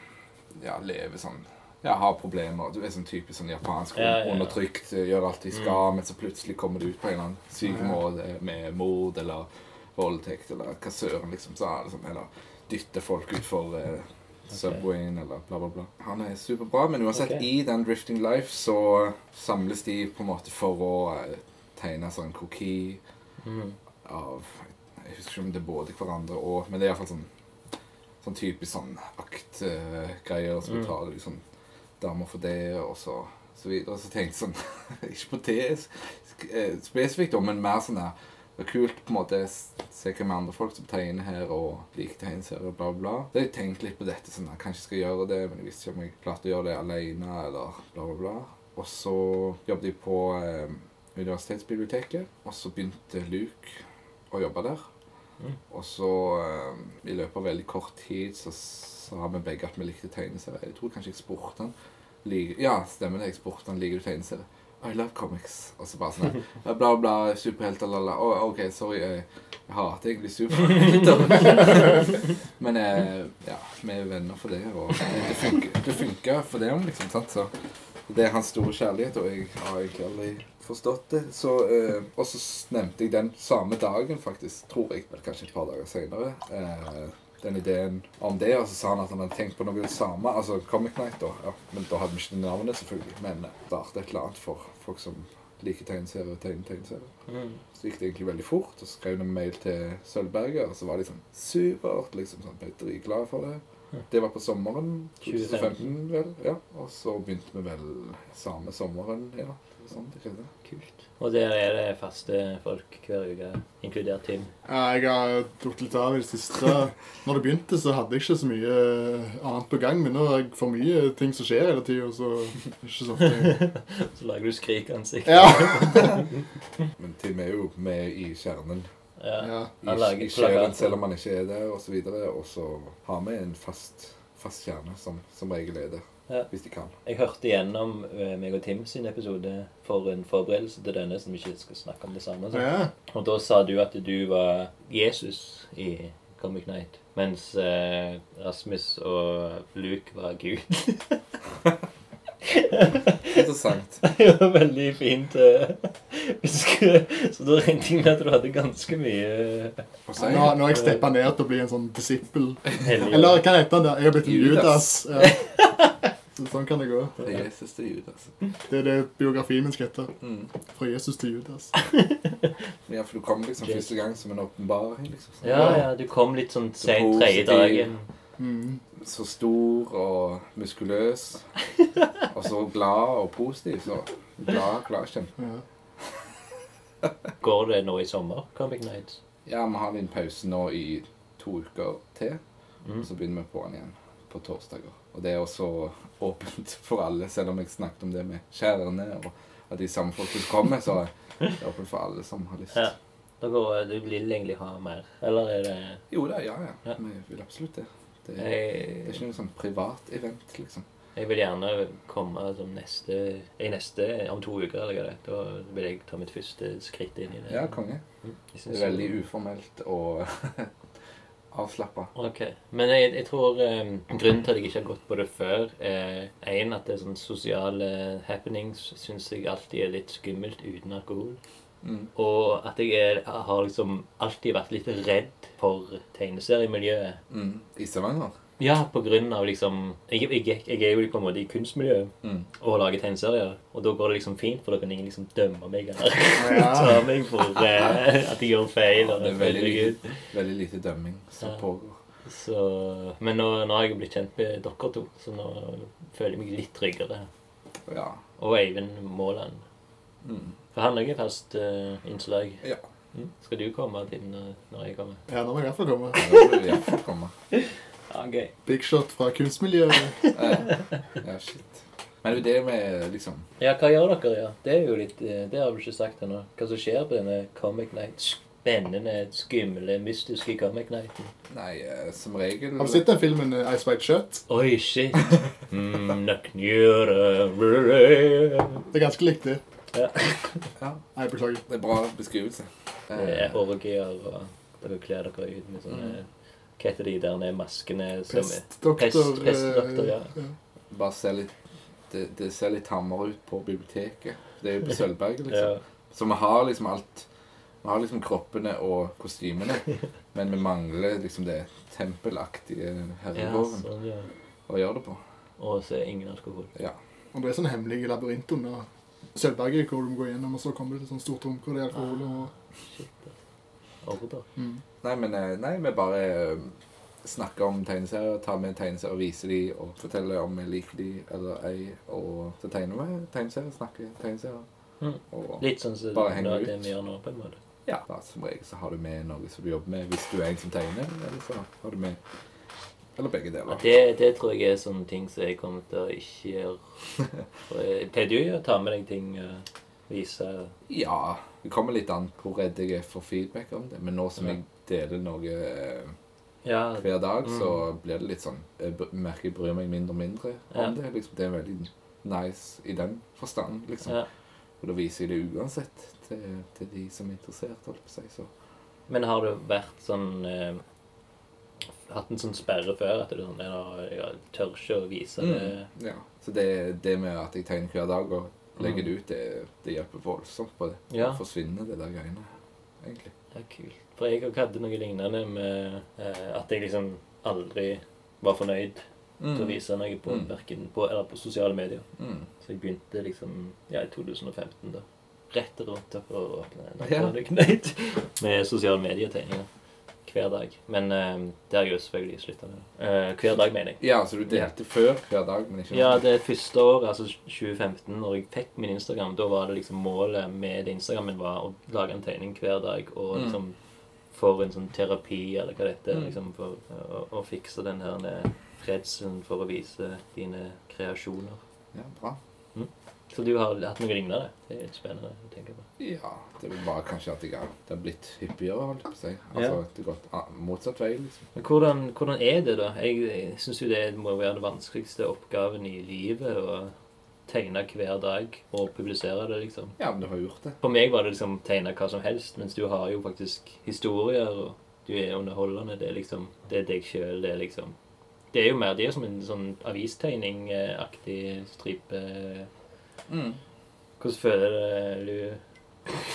D: ja, lever sånn ja, har problemer. Du er sånn typisk sånn japansk
B: Ja, Mm. ja, ja.
D: undertrykt, eh, gjør alt de skal, men så plutselig kommer det ut på en eller annen syk måte med mord eller voldtekt eller hva søren, liksom. Så er det sånn, eller dytter folk utfor eh, Subwayen eller bla, bla, bla. Han er superbra, men uansett,
B: Ok.
D: i den Drifting Life så samles de på en måte for å eh, tegne sånn koki
B: Mm.
D: av Jeg husker ikke om det er både hverandre og Men det er iallfall sånn, sånn typisk sånn aktgreier. så
B: Mm.
D: betaler de sånn damer for det, og så, så videre. Så tenkte jeg sånn Ikke på det sk- eh, spesifikt, da, men mer sånn her det er kult på en måte å se hvem andre folk som tegner her, og liker tegneserier, bla, bla. Så jeg tenkte litt på dette. sånn, jeg Kanskje jeg skal gjøre det, men jeg visste ikke om jeg klarte å gjøre det alene, eller bla, bla, bla. Og så jobbet jeg på eh, universitetsbiblioteket, og så begynte Luke og jobba der.
B: Mm.
D: Og så, eh, i løpet av veldig kort tid, så sa vi begge at vi likte tegneserier. Jeg tror kanskje jeg spurte han. Liker, ja, stemmer det. Jeg spurte han liker du tegneserier. I love comics. Og så bare sånn her, eh, bla, bla, superhelter, la, la. Å, OK, sorry. Jeg, jeg hater egentlig superhelter. Men eh, ja, vi er venner for det, og det funker, det funker for det, liksom. sant, så... Det er hans store kjærlighet, og jeg har egentlig aldri forstått det. Så, eh, og så s- nevnte jeg den samme dagen, faktisk, tror jeg, eller kanskje et par dager senere, eh, den ideen om det. Og så sa han at han hadde tenkt på noe av det samme, altså Comic Night, da. Ja, men da hadde vi ikke det navnet, selvfølgelig. Men eh, starte et eller annet for folk som liker tegneserier og tegne tegneserier.
B: Mm.
D: Så gikk det egentlig veldig fort, og så skrev de en mail til Sølvberget, og så var de sånn supert, liksom sånn, ble dritglade for det. Det var på sommeren 2015, vel, ja. Og så begynte vi vel samme sommeren, ja. Sånn, det skjedde.
B: Kult. Og der er det faste folk hver uke, inkludert Tim.
C: Ja, Jeg har drukket litt av i det siste. Når det begynte, så hadde jeg ikke så mye eh, annet på gang. Men nå har jeg for mye ting som skjer hele tida, så det er ikke så ofte.
B: Så lager du skrikansikt.
C: Ja.
D: Men Tim er jo med i kjernen.
B: Ja.
C: ja.
D: I,
B: Han lager
D: i sjelen,
B: plakater.
D: selv om han ikke er der, og så videre. Og så har vi en fast, fast kjerne som, som regel er der,
B: Ja.
D: hvis de kan.
B: Jeg hørte gjennom eh, meg og Tim sin episode for en forberedelse til denne, som vi ikke skal snakke om det samme. Så.
C: ja.
B: Og da sa du at du var Jesus i Comic Night, mens eh, Rasmus og Luke var Gud.
D: Interessant.
B: Det var veldig fint. eh, beskrevet. Så da regnet jeg med at du hadde ganske mye eh,
D: Og så er
C: Nå, nå har jeg steppa ned til å bli en sånn disippel.
B: hellig
C: Eller hva heter han der? Jeg har blitt en Judas.
D: Judas.
C: Ja. Så sånn kan det gå.
D: det er Jesus til Judas.
C: Det er det biografien min skal hete.
D: altså. Mm.
C: Fra Jesus til Judas.
D: Ja, for du kom liksom
B: Jesus.
D: første gang som en åpenbaring, liksom. sånn.
B: Ja, ja, du kom litt sånn sent
D: Positiv.
B: tredje dagen.
C: Mm.
D: så stor og muskuløs. Og så glad og positiv. Så glad, glad kjempe.
C: Ja.
B: Går det nå i sommer, Comic Night?
D: Ja, vi har en pause nå i to uker til.
B: Mm.
D: Og så begynner vi på den igjen på torsdager. Og det er også åpent for alle, selv om jeg snakket om det med kjærene og at de samme folkene kommer, så er det åpent for alle som har lyst.
B: Ja. Da går, eh, du vil egentlig ha mer. Eller er det
D: Jo da, ja,
B: Ja.
D: ja. Vi vil absolutt det. Det er, det er
B: Jeg,
D: ikke noe sånn privat event, liksom.
B: jeg vil gjerne komme som neste I neste om to uker, eller hva det er. Da vil jeg ta mitt første skritt inn i det.
D: Ja, konge.
B: Jeg
D: Det
B: synes-
D: er veldig uformelt og avslappa.
B: Ok, Men jeg, jeg tror eh, grunnen til at jeg ikke har gått på det før, er én at det er sånn sosiale happenings syns jeg alltid er litt skummelt uten alkohol.
D: Mm.
B: Og at jeg er, har liksom alltid vært litt redd for tegneseriemiljøet.
D: Mm. I Stavanger?
B: Ja, på grunn av liksom jeg, jeg, jeg er jo på en måte i kunstmiljøet
D: Mm.
B: og lager tegneserier. Og da går det liksom fint, for da kan ingen liksom dømme meg eller
C: Ja.
B: ta meg for eh, at jeg gjør feil.
D: Ja,
B: Og
D: det er
B: føler
D: veldig
B: meg ut.
D: lite, veldig lite dømming som
B: Ja.
D: pågår.
B: Så, men nå, nå har jeg blitt kjent med dere to, så nå føler jeg meg litt tryggere.
D: Ja. Mm.
B: Og Eivind Måland. For han er jo fast eh, innslag. Mm.
D: Ja.
B: Skal du komme, Tim, når- når jeg kommer?
C: Ja, nå må jeg iallfall komme.
D: Da vil jeg iallfall komme.
B: Ja, gøy.
C: Big shot fra kunstmiljøet.
D: Ja, shit. Men det er jo det med liksom
B: Ja, hva gjør dere? ja? Det er jo litt, eh, det har du ikke sagt ennå. Hva som skjer på denne Comic Night? Spennende, skumle, mystiske Comic Nighten.
D: Nei, eh, som regel
C: Har du sett den filmen eh, Ice White Shut?
B: Oi, shit. Mm, nok nyere.
C: Det er ganske likt det.
B: Ja.
D: Ja.
C: Nei, beklager.
D: Det er bra beskrivelse.
B: Eh, Orgier og dere kler dere ut med sånne Hva heter de der nede maskene som er
C: Pestdoktor.
B: Pest- pestdoktor, ja.
D: Bare se litt det, det ser litt tammere ut på biblioteket. Det er jo på Sølvberget, liksom.
B: ja.
D: Så vi har liksom alt Vi har liksom kroppene og kostymene, men vi mangler liksom det tempelaktige
B: ja,
D: herregården
B: sånn, ja.
D: å gjøre det på.
B: Og så er ingen alkohol.
D: Ja.
C: Og det er sånn hemmelig labyrint under Sølvberget hvor du må gå gjennom, og så kommer det til sånn stort rom hvor det er alkohol og
B: Order.
C: mm.
D: Nei, men eh, nei, vi bare eh, snakker om tegneserier, tar med tegneserier, viser de og forteller om vi liker de eller ei, og så tegner vi tegneserier, snakker tegneserier.
B: Mm.
D: Og
B: Litt sånn som
D: Bare henger
B: nå-
D: ut.
B: det vi gjør nå, på en måte.
D: ja, da, som regel så har du med noe som du jobber med, hvis du er en som tegner, eller så har du med Eller begge
B: Ja,
D: deler.
B: Det, det tror jeg er sånne ting som jeg kommer til å ikke gjøre. For jeg pleier jo å ta med deg ting og vise
D: Ja. Det kommer litt an på hvor redd jeg er for feedback om det, men nå som
B: Ja.
D: jeg deler noe eh,
B: Ja,
D: hver dag,
B: Mm.
D: så blir det litt sånn Jeg br- merker jeg bryr meg mindre og mindre om
B: Ja.
D: det. Liksom, det er veldig nice i den forstand, liksom.
B: ja.
D: Og da viser jeg det uansett til, til de som er interessert, holdt på å si. Så
B: Men har du vært sånn eh, Hatt en sånn sperre før at du sånn «Nei, nå, Jeg tør ikke å vise
D: Mm.
B: det.
D: ja. Så det, det med at jeg tegner hver dag og legger det ut, det, det hjelper voldsomt på det.
B: Ja.
D: Det forsvinner det der greiene, egentlig.
B: Ja, kult. For jeg også hadde noe lignende med eh, at jeg liksom aldri var fornøyd til å vise noe på,
D: Mm.
B: hverken på, eller på sosiale medier.
D: Mm.
B: Så jeg begynte liksom ja, i 2015, da. Rett rundt opp og åpne
D: Ja.
B: Naked med sosiale medietegninger hver dag. Men eh, det har jeg jo selvfølgelig slutta med. Eh, hver dag, mener jeg.
D: Ja, så du delte før hver dag, men ikke
B: Ja, det første året, altså 2015, når jeg fikk min Instagram, da var det liksom målet med Instagrammen var å lage en tegning hver dag og
D: Mm.
B: liksom for en sånn terapi, eller hva det heter,
D: Mm.
B: liksom for å, å fikse den her eh, redselen for å vise dine kreasjoner.
D: ja, bra.
B: Så du har hatt noe lignende? Det er litt spennende å tenke på.
D: Ja, det er vel bare kanskje at jeg har, det har blitt hyppigere, holdt jeg på å si. Altså,
B: Ja.
D: det har gått ah, motsatt vei, liksom.
B: Men hvordan, hvordan er det, da? Jeg, jeg syns jo det må være den vanskeligste oppgaven i livet. Å tegne hver dag og publisere det, liksom.
D: Ja, men du har gjort det.
B: For meg var det liksom tegne hva som helst, mens du har jo faktisk historier, og du er underholdende. Det er liksom Det er deg sjøl, det er liksom Det er jo mer det er som en sånn avistegning-aktig stripe.
D: Mm.
B: Hvordan føler du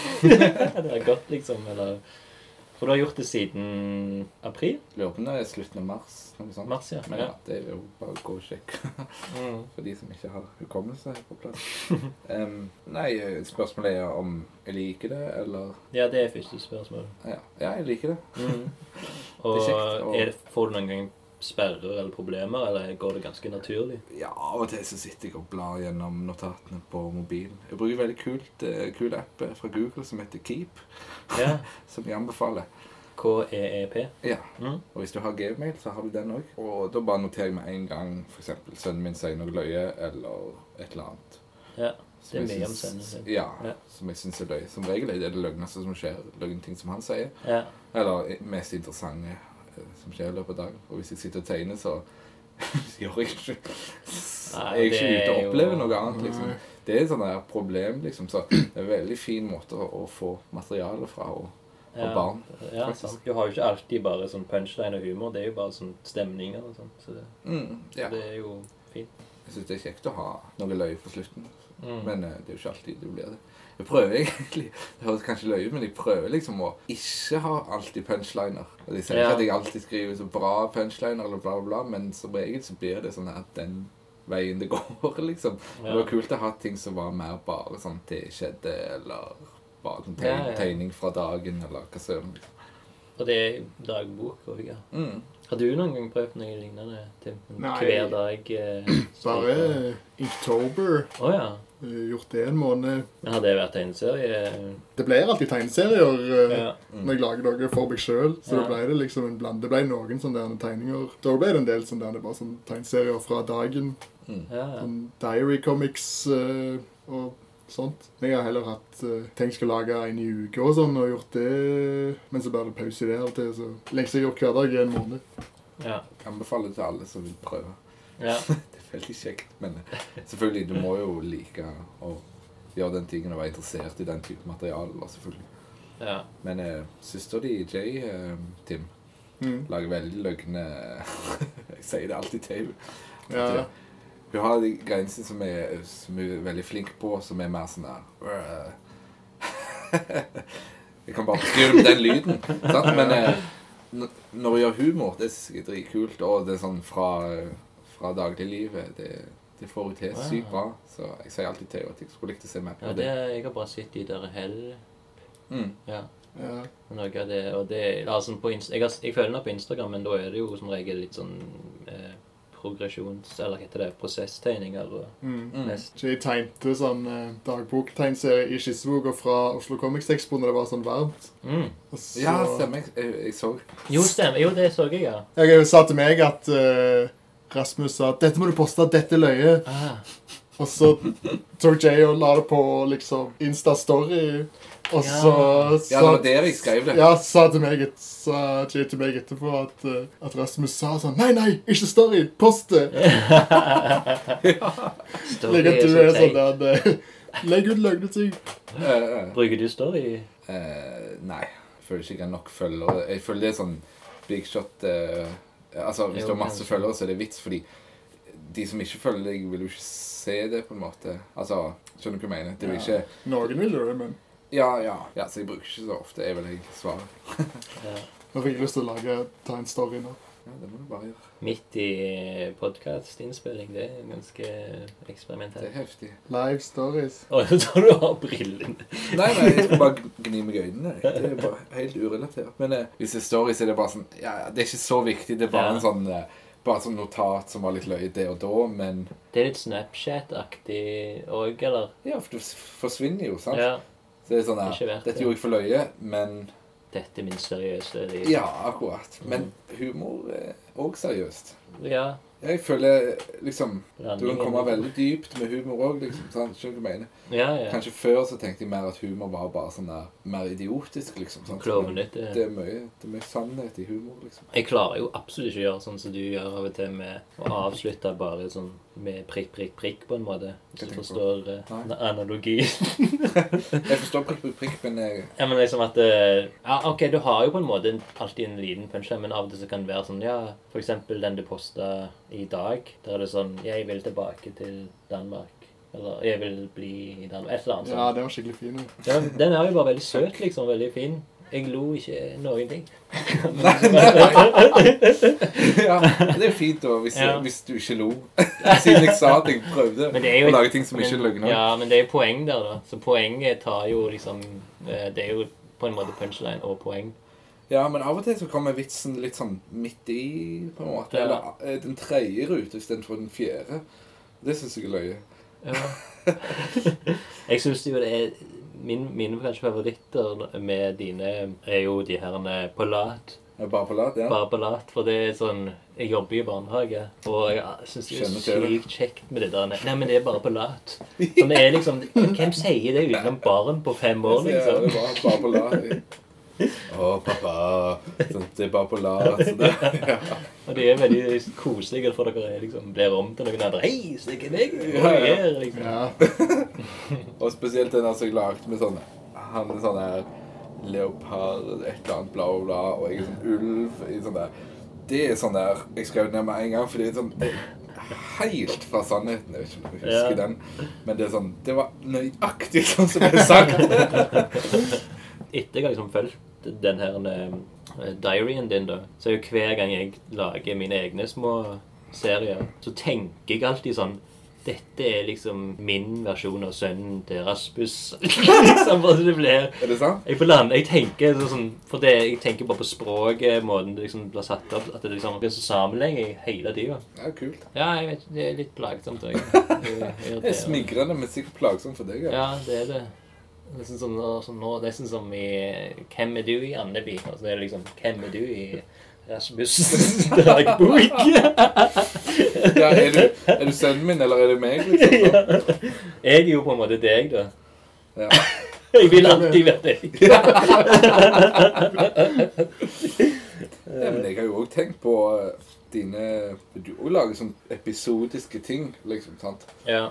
B: Det er godt, liksom, eller For du har gjort det siden april?
D: Lurer på om det er slutten av mars, noe sånt.
B: Mars, ja.
D: Men ja,
B: Ja.
D: det er jo bare å gå og sjekke.
B: Mm.
D: For de som ikke har hukommelse på plass. Em, nei, spørsmålet er om jeg liker det, eller
B: Ja, det er første spørsmål.
D: Ja, ja jeg liker det.
B: Og
D: Mm. Det er kjekt, og-
B: er det, får du noen gang sperrer eller problemer, eller går det ganske naturlig?
D: Ja, Av og til så sitter jeg og blar gjennom notatene på mobilen. Jeg bruker veldig kult, eh, kul app eh, fra Google som heter Keep,
B: Ja.
D: som jeg anbefaler.
B: KEEP.
D: Ja,
B: Mm.
D: Og hvis du har gmail, så har du den òg. Og da bare noterer jeg med en gang f.eks. sønnen min sier noe løye, eller et eller annet.
B: Ja.
D: Som
B: Det er
D: jeg
B: mye om
D: syns-
B: sønnen
D: Ja,
B: Ja.
D: som jeg syns er løye. Som regel er det det løgneste som skjer. Løgnting som han sier.
B: ja.
D: Eller i- mest interessante eh, som skjer i løpet av dagen. Og hvis jeg sitter og tegner, så gjør jeg ikke
B: Nei,
D: Jeg er ikke
B: det
D: ute og
B: er
D: opplever
B: jo-
D: noe annet, liksom. Det er et sånt der problem, liksom. Så det er en veldig fin måte å, å få materiale fra. Og, og
B: Ja.
D: barn.
B: Ja,
D: faktisk.
B: sant. Du har jo ikke alltid bare sånn punchline og humor. Det er jo bare sånn stemninger og sånn. Så det,
D: Mm, ja.
B: det er jo fint.
D: Jeg syns det er kjekt å ha noe løye på slutten.
B: Mm.
D: Men eh, det er jo ikke alltid det blir det. Jeg prøver egentlig Det høres kanskje løye ut, men jeg prøver liksom å ikke ha alltid punchliner. Og Jeg sier
B: Ja.
D: ikke at jeg alltid skriver så bra punchliner, eller bla, bla, bla, men som regel så blir det sånn at den veien det går, liksom. Og Det
B: Ja.
D: var kult å ha ting som var mer bare sånn det skjedde, eller bare en
B: Ja,
D: tegning,
B: ja.
D: tegning fra dagen, eller hva søren. liksom.
B: Og det er dagbok òg, ja.
D: Mm.
B: Har du noen gang prøvd noe lignende? Tim? En
C: Nei.
B: Hver dag? eh,
C: Bare eh,
B: stripe?
C: Inktober.
B: Å ja.
C: eh, Gjort det en måned.
B: Men har det vært tegneserie?
C: Det ble alltid tegneserier eh,
B: Ja.
D: mm,
C: når jeg lager noe for meg sjøl. Så
B: Ja.
C: da ble det liksom en bland. Det ble noen sånne der tegninger. Da ble det en del sånne der, bare sånne tegneserier fra dagen.
D: mm.
B: Ja.
C: Sånn diary comics eh, og sånt. Men jeg har heller hatt eh, ting jeg skal lage en i uka og sånn, og gjort det. Men så blir det pause i det av og til. Så lengst jeg har gjort hver dag, er en måned.
B: Ja.
D: Anbefaler til alle som vil prøve.
B: ja.
D: Det er veldig kjekt, men selvfølgelig, du må jo like å gjøre den tingen og være interessert i den type materiale, da, selvfølgelig.
B: ja.
D: Men eh, søster di, Jay, eh, Tim,
C: Mm.
D: lager veldig løgne Jeg sier det alltid til henne.
C: Ja.
D: Hun har de greiene sine som, er- som hun er veldig flink på, som er mer sånn her øh. Jeg kan bare beskrive det med den lyden. sant? Men eh, n- når hun gjør humor, det synes jeg er dritkult. Og det er sånn fra, fra dagliglivet. Det, det får hun til sykt bra. Så jeg sier alltid til henne at jeg skulle likt å se mer
B: ja
D: på
B: det,
D: det.
B: jeg har bare sett de der hell.
D: Mm.
B: Ja.
C: Ja.
B: Og Noe av det, og det altså på Inst jeg, har, jeg følger henne på Instagram, men da er det jo som regel litt sånn eh, progresjons... Eller hva heter det? Prosesstegninger og
C: Mm.
D: Mm.
B: mest.
C: Så jeg tegnte sånn eh, dagboktegnserie i skisseboka fra Oslo Comics Expo når det var sånn varmt.
B: Mm.
C: Og så,
D: Ja, stemmer. Jeg, jeg, jeg så
B: Jo, stemmer. Jo, det så jeg, ja.
C: Jeg hun sa til meg at eh, Rasmus sa 'Dette må du poste. Dette er løye'.
B: Ah.
C: Og så tok Jay og la det på liksom Insta-story, og så
D: Ja, det var der jeg skrev det.
C: Ja, sa til meg, et, sa Jay til meg etterpå at, eh, at Rasmus sa sånn Nei, nei, ikke story! Post det!
B: Story
C: Legg at
B: er
C: du
B: så
C: er sånn
B: teit.
C: der eh, Legg ut løgne ting.
D: Eh, eh.
B: Bruker du story?
D: Eh, nei. Jeg føler ikke jeg har nok følgere. Jeg føler det er sånn big shot eh, Altså, Hvis
B: Jo,
D: du har masse
B: kanskje.
D: følgere, så er det vits, fordi de som ikke følger deg, vil jo ikke se det, på en måte. Altså, Skjønner du hva jeg mener? Det er jo
C: Ja.
D: ikke
C: Noen vil jo det, men
D: Ja, ja. ja, Så jeg bruker ikke så ofte, er vel jeg svaret.
B: Ja.
C: nå fikk jeg lyst til å lage, ta en story nå.
D: Ja, det må du bare gjøre.
B: Midt i podkastinnspilling. Det er ganske
D: Det er
B: eksperimentelt.
D: heftig.
C: Live stories.
B: Å, jeg tror du har brillene.
D: Nei, nei, jeg skal bare gni meg i øynene. jeg. Det er bare helt urelatert. Men eh, hvis det er stories, er det bare sånn Ja, ja, det er ikke så viktig. Det er bare
B: Ja.
D: en sånn eh, bare sånn notat som var litt løye det og da, men
B: Det er litt Snapchat-aktig òg, eller?
D: Ja, for det forsvinner jo, sant?
B: Ja.
D: Så det er sånn her,
B: Ikke verdt det.
D: Dette gjorde jeg for løye, men
B: Dette er min seriøse liv.
D: Ja, akkurat. Men humor er òg seriøst.
B: ja.
D: Jeg føler liksom Du kan
B: Blandingen.
D: komme veldig dypt med humor òg, liksom. Sant? Skjønner du hva jeg mener?
B: Ja, ja.
D: Kanskje før så tenkte jeg mer at humor var bare sånn der mer idiotisk, liksom. Sant? Men
B: Klovnete.
D: Det er, mye, det er mye sannhet i humor, liksom.
B: Jeg klarer jo absolutt ikke å gjøre sånn som du gjør av og til, med å avslutte bare sånn med prikk, prikk, prikk, på en måte. Hvis du
D: tenker
B: forstår eh,
D: Nei.
B: an- analogi.
D: Jeg forstår prikk, prikk, prikk, men jeg,
B: Ja, men liksom at eh, Ja, OK, du har jo på en måte en- alltid en liten punchline, men av og til så kan det være sånn Ja, for eksempel den du posta i dag. Der er det sånn Jeg vil tilbake til Danmark. Eller Jeg vil bli i Danmark. Et eller annet
C: Ja,
B: sånt.
C: det var skikkelig fin.
B: Ja, den er jo bare veldig søt, liksom. Veldig fin. Jeg lo ikke noen ting.
D: Ja, det er fint, da, hvis,
B: Ja.
D: hvis du ikke lo. Siden jeg sa at jeg prøvde
B: Men det er jo-
D: å lage ting som ikke
B: Men-
D: løgner.
B: Ja, men det er jo poeng der, da. Så poenget tar jo liksom eh, Det er jo på en måte punchline og poeng.
D: Ja, men av og til så kommer vitsen litt sånn midt i, på en måte.
B: Ja.
D: Eller eh, den tredje rute istedenfor den fjerde. Det syns jeg er løye.
B: Ja. jeg syns jo det er min, Mine kanskje favoritter med dine er jo de herrene på lat.
D: Jeg er Bare på lat, ja.
B: Bare på lat. For det er sånn Jeg jobber i barnehage, og jeg syns det er
D: Skjønner til det.
B: sykt kjekt med det der Nei, men det er bare på lat. Sånn, det er liksom Hvem sier det utenom barn på fem år,
D: Ja, det
B: liksom?
D: er bare, bare på lat. Å, pappa. Så Det er bare på lat. Så det, ja.
B: Og det er veldig koselig for dere liksom blir om til noen andre. Hei, se hvem jeg er! Hva jeg er, liksom.
C: Ja.
D: Og spesielt den der som jeg lagde med sånne Han er sånn der leopard, et eller annet, bla, bla, bla. Og jeg er sånn ulv. i sånn der. Det er sånn der Jeg skrev det ned med en gang, for det er sånn det er Helt fra sannheten. Jeg vet ikke om du husker
B: Ja.
D: den. Men det er sånn Det var nøyaktig sånn som jeg sagt.
B: etter jeg har liksom fulgt den her eh, diaryen din, da, så er jo hver gang jeg lager mine egne små serier, så tenker jeg alltid sånn Dette er liksom min versjon av sønnen til Rasmus. liksom bare så det blir.
D: Er det sant?
B: Jeg, på land, jeg tenker sånn, sånn For det, jeg tenker bare på språket, måten det liksom blir satt opp At det liksom blir så sammenhengig hele tida.
D: Ja, kult.
B: Ja, jeg vet, det er litt plagsomt òg. Det
D: Det er smigrende, men sikkert plagsomt for deg.
B: Ja, det er det. Nesten som, som nå, nesten som i eh, Hvem er du i Andeby? Og så er det liksom Hvem er du i Rasmus Dragbok?
D: Ja, er, du, er du sønnen min, eller er det meg? liksom? da?
B: Jeg er jo på en måte deg, da.
D: Ja.
B: Jeg vil alltid være deg.
D: Ja, men jeg har jo òg tenkt på eh, dine Du òg lager sånn episodiske ting, liksom. sant?
B: Ja.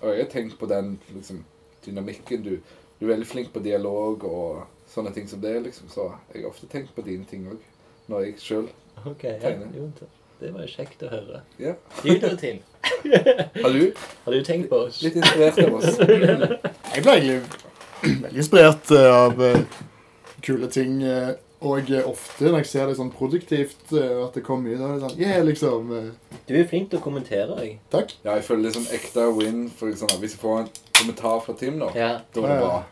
D: Og jeg har tenkt på den liksom, dynamikken. Du, du er veldig flink på dialog og sånne ting som det, liksom. Så jeg har ofte tenkt på dine ting òg. Når jeg sjøl
B: Ok, ja.
D: Tegner.
B: Jo, det var kjekt å høre.
D: Ja.
B: Du da, Tim.
D: Har du?
B: Har du tenkt på oss?
D: Litt inspirert av oss. Mm.
C: Jeg ble egentlig veldig inspirert eh, av eh, kule ting. eh, og eh, ofte når jeg ser det sånn produktivt, eh, og at det kommer ut av det sånn Yeah, liksom. eh,
B: Du er flink til å kommentere, jeg.
C: takk.
D: Ja, jeg føler det er sånn ekte win. For eksempel, hvis jeg får en kommentar fra Tim nå,
B: Ja.
D: da er det bra.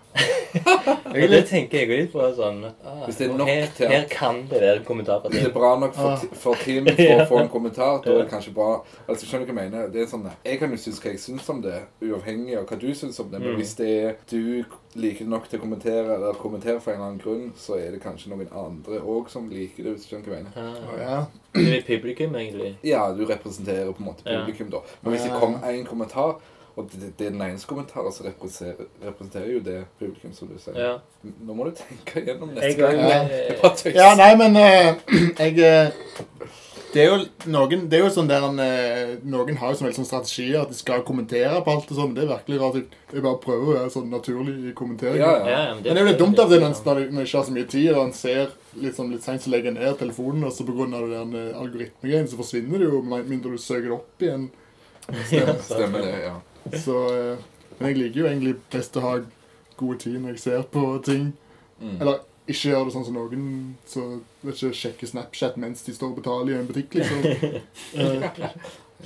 C: Jeg
B: Og
C: er
B: det
C: litt,
B: tenker jeg litt på sånn ah,
D: Hvis det er
B: nå
D: nok
B: her,
D: til at-
B: her kan det være en kommentar fra
D: Hvis det er
B: Tim.
D: bra nok
B: Ah.
D: for, ti- for Tim for å få en kommentar, da er det kanskje bra. Altså, skjønner du hva jeg mener? Det er sånn, jeg kan jo synes hva jeg syns om det, uavhengig av hva du syns om det. Men
B: Mm.
D: hvis det er du liker det nok til å kommentere, eller kommentere for en eller annen grunn, så er det kanskje noen andre òg som liker det. hvis du skjønner hva jeg mener.
B: Ah,
C: ja.
B: Du er publikum, egentlig.
D: Ja, du representerer på en måte
B: Ja.
D: publikum, da. Men hvis det
C: Ja.
D: kommer én kommentar, og det, det er den enes kommentar, så representerer, representerer jo det publikum, som du sier.
B: Ja.
D: Nå må du tenke gjennom neste
B: Jeg gang,
D: gang. Det er bare tøys.
C: Ja, nei, men eh, jeg eh, det er, jo noen, det er jo sånn der en, eh, Noen har jo sånn veldig sånn strategier at de skal kommentere på alt og sånn. Det er virkelig rart. Jeg- Jeg bare prøver å være sånn naturlig i kommenteringen.
D: Ja, ja.
C: Men det er jo litt dumt av det når en- når en ikke har så mye tid, og en ser litt, sånn, litt seint så legger en ned telefonen, og så pga. den eh, algoritmegreien så forsvinner det jo, med mindre du søker det opp igjen.
D: Stemmer det, ja.
C: Så, eh, men jeg liker jo egentlig best å ha god tid når jeg ser på ting.
D: Mm.
C: Eller ikke gjør det sånn som noen så vet ikke, sjekker Snapchat mens de står og betaler i en butikk, liksom. Eh,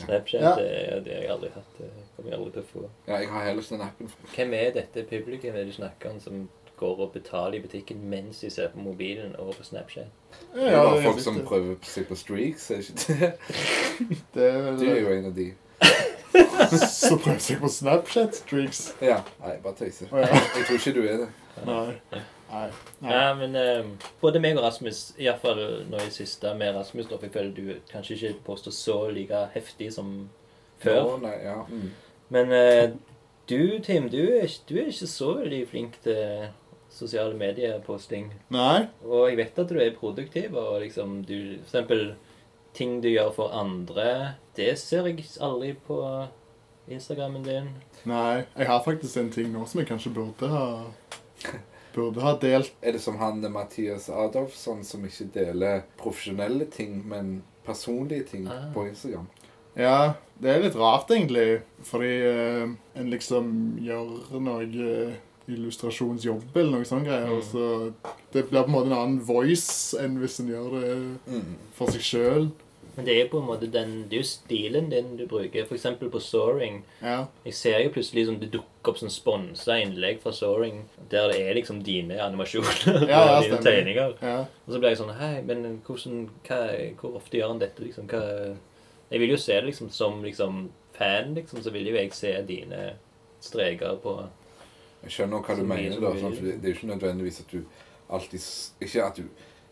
B: Snapchat
C: Ja.
B: det, er- det har jeg aldri hatt. Det kommer jeg aldri til å få.
D: ja. Jeg har heller ikke den appen.
B: Hvem er dette publikum er det du snakker om, som går og betaler i butikken mens de ser på mobilen og på Snapchat?
D: Det er bare
C: helt
D: folk
C: riktig.
D: som prøver seg på streaks. Er ikke det?
C: Det er vel
D: Du er jo en av de.
C: Så prøver jeg på Snapchat-streaks.
D: Ja. Nei, bare tøyser.
C: Å, ja.
D: Jeg tror ikke du er det.
C: Nei. Nei.
B: Ja, men eh, både meg og Rasmus, iallfall nå i siste med Rasmus, da, for jeg føler du kanskje ikke påstår så like heftig som før.
D: Nå, nei, ja. Mm.
B: Men eh, du, Tim, du er, ikke- du er ikke så veldig flink til sosiale medier-posting.
C: Nei.
B: Og jeg vet at du er produktiv, og liksom du For eksempel ting du gjør for andre. Det ser jeg aldri på Instagrammen din.
C: Nei. Jeg har faktisk en ting nå som jeg kanskje burde ha Burde ha delt.
D: Er det som han eh, Mathias Adolfsson som ikke deler profesjonelle ting, men personlige ting
B: Ah.
D: på Instagram?
C: Ja, det er litt rart egentlig, fordi eh, en liksom gjør noe eh, illustrasjonsjobb eller noe sånn greier,
B: Mm.
C: og så det blir på en måte en annen voice enn hvis en gjør det
D: Mm.
C: for seg sjøl.
B: Men det er på en måte den Det er jo stilen din du bruker. For eksempel på Soaring.
C: Ja.
B: Jeg ser jo plutselig som det dukker opp sånn sponsa innlegg fra Soaring der det er liksom dine animasjoner og
C: Ja, ja,
B: dine
C: stemmer.
B: tegninger.
C: ja.
B: Og så blir jeg sånn Hei, men hvordan, hva, hvor ofte gjør han dette, liksom? Hva Jeg vil jo se det liksom som liksom, fan, liksom, så vil jo jeg se dine streker på
D: Jeg skjønner hva du
B: Så mye
D: mener.
B: som
D: da.
B: du
D: Sånn,
B: vil.
D: for det det er jo ikke nødvendigvis at du alltid s- Ikke at du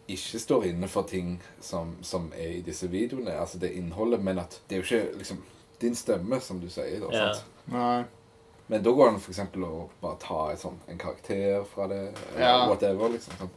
D: ikke står inne for ting som, som er i disse videoene, altså det innholdet, men at det er jo ikke liksom din stemme, som du sier. da,
B: Ja.
D: sant?
C: Nei.
D: Men da går det an for eksempel å bare ta et sånn, en karakter fra det, eller
C: Ja.
D: whatever, liksom. Sånn.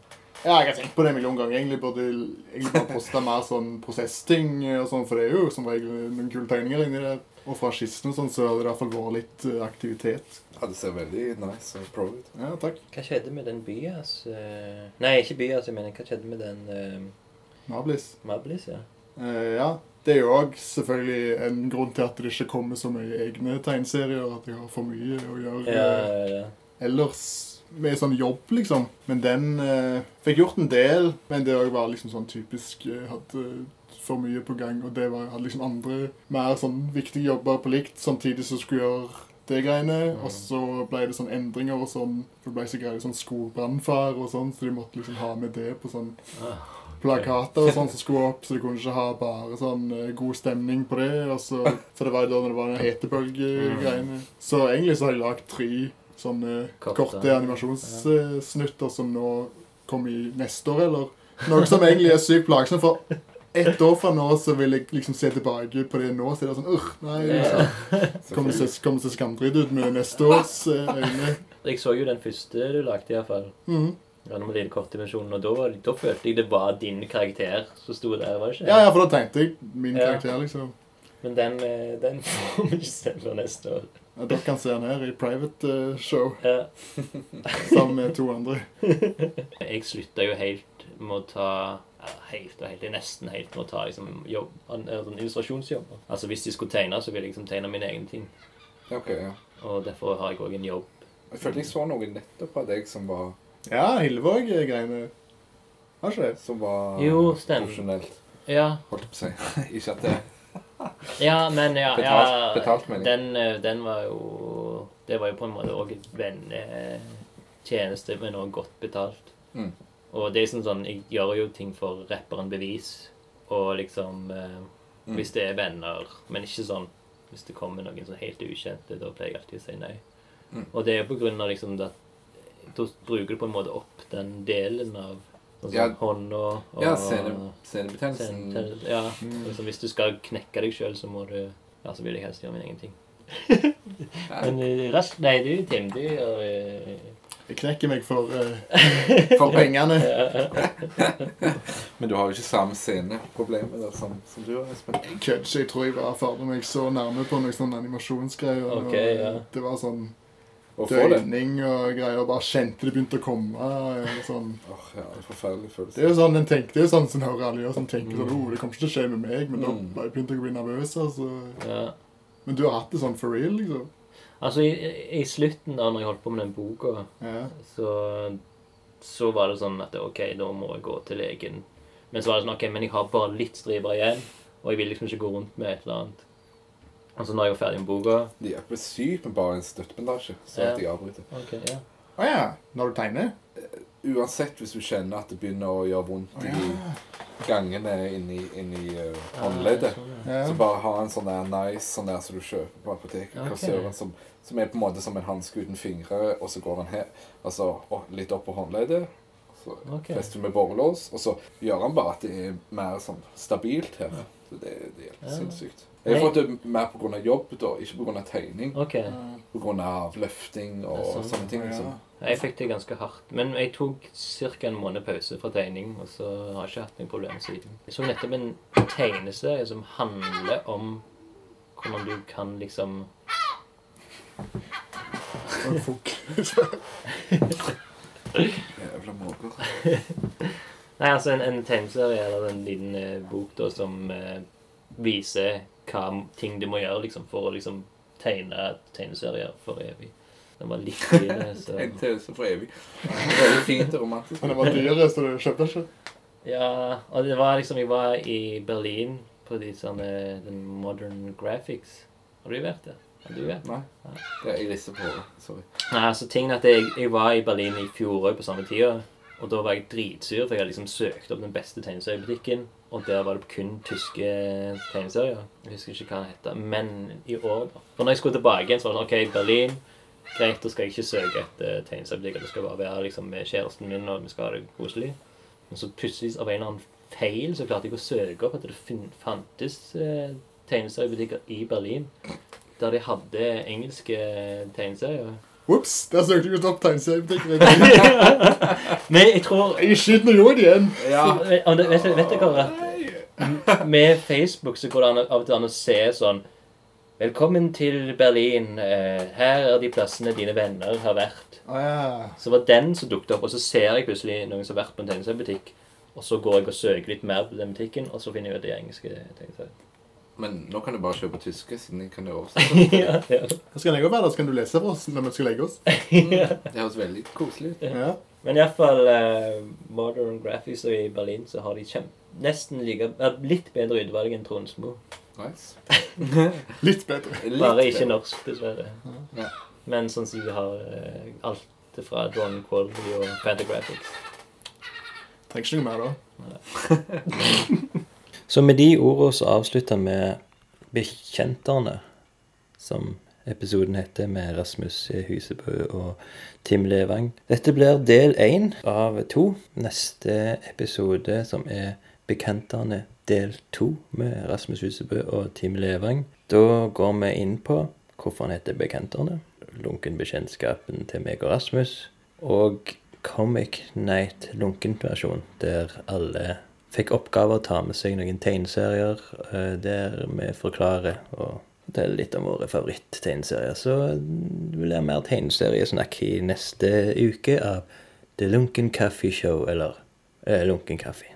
C: Ja, jeg har tenkt på det en million ganger. Egentlig burde jeg bare poste mer sånn prosessting og sånn, for det er jo som regel noen kule tegninger inni det. Og fra skissen og sånn, så har det i hvert fall vært litt eh, aktivitet.
D: Ja, det ser veldig nice og pro ut.
C: Ja, takk.
B: Hva skjedde med den Byas eh, Nei, ikke Byas, jeg mener hva skjedde med den eh,
C: Mablis.
B: Mablis, ja?
C: Eh, ja. Det er jo òg selvfølgelig en grunn til at det ikke kommer så mye egne tegneserier, og at jeg har for mye å gjøre
B: Ja,
C: eh,
B: ja, ja.
C: ellers med sånn jobb, liksom. Men den eh, fikk gjort en del, men det òg var liksom sånn typisk eh, Hadde for mye på gang, og det var, hadde liksom andre mer sånn viktige jobber på likt, samtidig som skulle gjøre det greiene. Og så ble det sånn endringer og sånn. For det ble så greier sånn skogbrannfare og sånn, så de måtte liksom ha med det på sånn plakater og sånn som skulle opp, så de kunne ikke ha bare sånn eh, god stemning på det. Og så, så det var da når det var den hetebølgegreiene. Så egentlig så har jeg lagd tre sånne
B: Mm. Korte.
C: korte animasjonssnutter eh, som nå kommer i neste år, eller noe som egentlig er sykt plagsomt. for ett år fra nå så vil jeg liksom se tilbake på det nå, så er det sånn Urgh, nei. Liksom. Kommer til å se- kommer til å se skamdritt ut med neste års eh, øyne.
B: Jeg så jo den første du lagde, iallfall.
C: Mhm.
B: Ja, nå må det i kortdimensjonen, og da, var det- da følte jeg det var din karakter som sto der, var det ikke?
C: Ja, ja, for da tenkte jeg min
B: Ja.
C: karakter, liksom.
B: Men den, eh, den får vi ikke se før neste år.
C: Ja, Dere kan se han her i private eh, show
B: Ja.
C: sammen med to andre.
B: Jeg slutta jo helt med å ta ja, helt og helt, nesten helt med å ta liksom, jobb, an- eller sånn illustrasjonsjobber. Altså Hvis de skulle tegne, så ville jeg liksom tegne mine egne ting.
D: Ok, ja.
B: Og derfor har jeg òg en jobb.
D: Jeg følte jeg så noe nettopp av deg som var,
C: Ja, Hillevåg-greiene. Har ikke det?
D: som var
B: Jo, stemmer.
D: profesjonelt.
B: Ja,
D: Holdt på å si. Ikke at det
B: ja men ja, ja
D: Betalt- betalt, mener jeg.
B: den, eh, den var jo Det var jo på en måte òg vennetjeneste, men òg godt betalt.
D: Mm.
B: Og det er sånn sånn Jeg gjør jo ting for rapperen Bevis, og liksom eh,
D: Mm.
B: Hvis det er venner, men ikke sånn Hvis det kommer noen sånn helt ukjente, da pleier jeg alltid å si nei.
D: Mm.
B: Og det er på grunn av liksom det at Da bruker du på en måte opp den delen av sånn,
D: Ja.
B: hånd og, og
D: Ja, scene- scenebetennelsen.
B: scene- Ja. Altså, hvis du skal knekke deg sjøl, så må du Ja, så vil jeg helst gjøre min egen ting.
D: Ja,
B: Men eh, resten Nei, du, Tim, du gjør eh,
C: Jeg knekker meg for, eh,
D: For
C: for pengene.
D: Men du har jo ikke samme sceneproblemet der som, som du har, Espen.
C: Jeg kødder ikke. Jeg tror jeg var ferdig meg så nærme på noen sånne animasjonsgreier. og
B: Ok, ja.
C: Det var sånn
D: Å få det.
C: døgning og greier. og Bare kjente det begynte å komme. og sånn.
D: Åh, ja, det er forferdelig følelse.
C: Det er jo sånn en tenker, det er jo sånn som hører alle gjør, som tenker sånn, oh, det kommer ikke til å skje med meg, men da
D: Mm.
C: bare begynte jeg å bli nervøs, altså.
B: ja.
C: Men du har hatt det sånn for real, liksom.
B: Altså, i, i slutten da når jeg holdt på med den boka
C: Ja.
B: så, så var det sånn at OK, da må jeg gå til legen. Men så var det sånn OK, men jeg har bare litt striper igjen, og jeg vil liksom ikke gå rundt med et eller annet. Altså, nå er jeg jo ferdig med boka.
D: De hjelper sykt med bare en støttependasje, så
B: Ja.
D: at jeg avbryter.
B: Ok, ja.
C: Å ja, når du tegner?
D: Uansett hvis du kjenner at det begynner å gjøre vondt i gangene inni, inni eh, håndleddet,
C: Ja.
D: så bare ha en sånn der nice sånn der som du kjøper på apoteket,
B: Ok.
D: kassøren som, som er på en måte som en hanske uten fingre, og så går han her, altså å- litt opp på håndleddet, så
B: Ok.
D: fester du med borrelås, og så gjør han bare at det er mer sånn stabilt her. Så det, det hjelper
B: Ja.
D: sinnssykt. Jeg har fått det mer på grunn av jobb da, ikke på grunn av tegning.
B: Ok.
D: På grunn av løfting og
B: Det er sant.
D: sånne ting. liksom.
C: Ja.
B: Jeg fikk det ganske hardt. Men jeg tok ca. en måned pause fra tegning, og så har jeg ikke hatt noen problemer siden. Jeg så nettopp en tegneserie som handler om hvordan du kan liksom
C: Og fuck.
D: Jævla måker.
B: Nei, altså en, en tegneserie eller en liten eh, bok da som eh, viser hva m- ting du må gjøre liksom, for å liksom tegne tegneserier for evig. Den var litt fin, eh, så
D: En tause for evig. Veldig fint og romantisk.
C: Men det var dyre, så du kjøpte den ikke.
B: Ja, og det var liksom Jeg var i Berlin på de sånne den Modern Graphics. Har du vært der? Har du vært?
D: Nei. Det er, jeg rister på hodet. Sorry.
B: Nei, altså tingen er at jeg, jeg var i Berlin i fjor også på samme tida. Og da var jeg dritsur, for jeg hadde liksom søkt opp den beste tegneseriebutikken. Og der var det kun tyske tegneserier. Jeg husker ikke hva den heter. Men i år, da. For når jeg skulle tilbake igjen, så var det sånn OK, Berlin. Greit, da skal jeg ikke søke etter tegneseriebutikk. Det skal bare være liksom med kjæresten min, og vi skal ha det koselig. Men så plutselig, av en eller annen feil, så klarte jeg å søke opp at det fin- fantes eh, tegneseriebutikker i Berlin der de hadde engelske tegneserier.
C: Whoops, der søkte jeg ut opp tegneseriebutikken.
B: Men jeg tror
C: Jeg skyter noe jord igjen.
D: Ja.
B: Om det- Vet du- vet dere at med Facebook så går det an- av og til an å se sånn Velkommen til Berlin. eh, Her er de plassene dine venner har vært.
C: Å ja.
B: Så var den som dukket opp, og så ser jeg plutselig noen som har vært på en tegneseriebutikk. Og så går jeg og søker litt mer på den butikken, og så finner jeg ut de engelske tegneseriene.
D: Men nå kan du bare kjøpe tyske, siden jeg kan det oversette.
B: ja, ja.
C: Da skal jeg også være der, så kan du lese for oss når vi skal legge oss.
D: Det høres veldig koselig ut.
C: Ja.
B: Men iallfall uh, Modern Graphics og i Berlin så har de kjem nesten like, eh, litt bedre utvalg enn Tronsmo.
D: Nice.
C: Litt bedre.
D: Litt
B: Bare
D: bedre.
B: ikke norsk, dessverre.
D: Ja.
B: Men sånn som de har eh, alt fra Drawn Quality og Fantagraphics.
C: Trenger ikke noe mer, da.
B: Så med de ordene så avslutter vi Bekjenterne, som episoden heter, med Rasmus Husebø og Tim Levang. Dette blir del én av to. Neste episode, som er Bekjenterne del to, med Rasmus Husebø og Tim Levang. Da går vi inn på hvorfor han heter Bekjenterne, lunkenbekjentskapen til meg og Rasmus, og Comic Night lunkenversjon, der alle fikk oppgave å ta med seg noen tegneserier eh, der vi forklarer og forteller litt om våre favoritt-tegneserier. Så det blir mer tegneseriesnakk i neste uke av The Lunken Coffee Show, eller eh, Lunken Kaffe.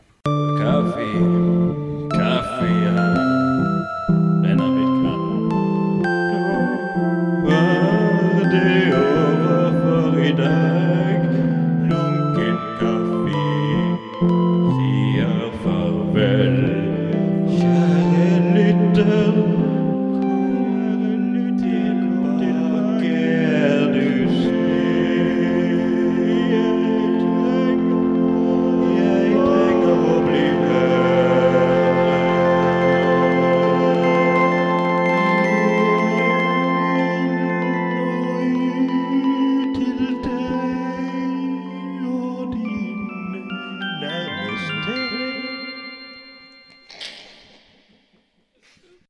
A: Kaffee, Kaffee.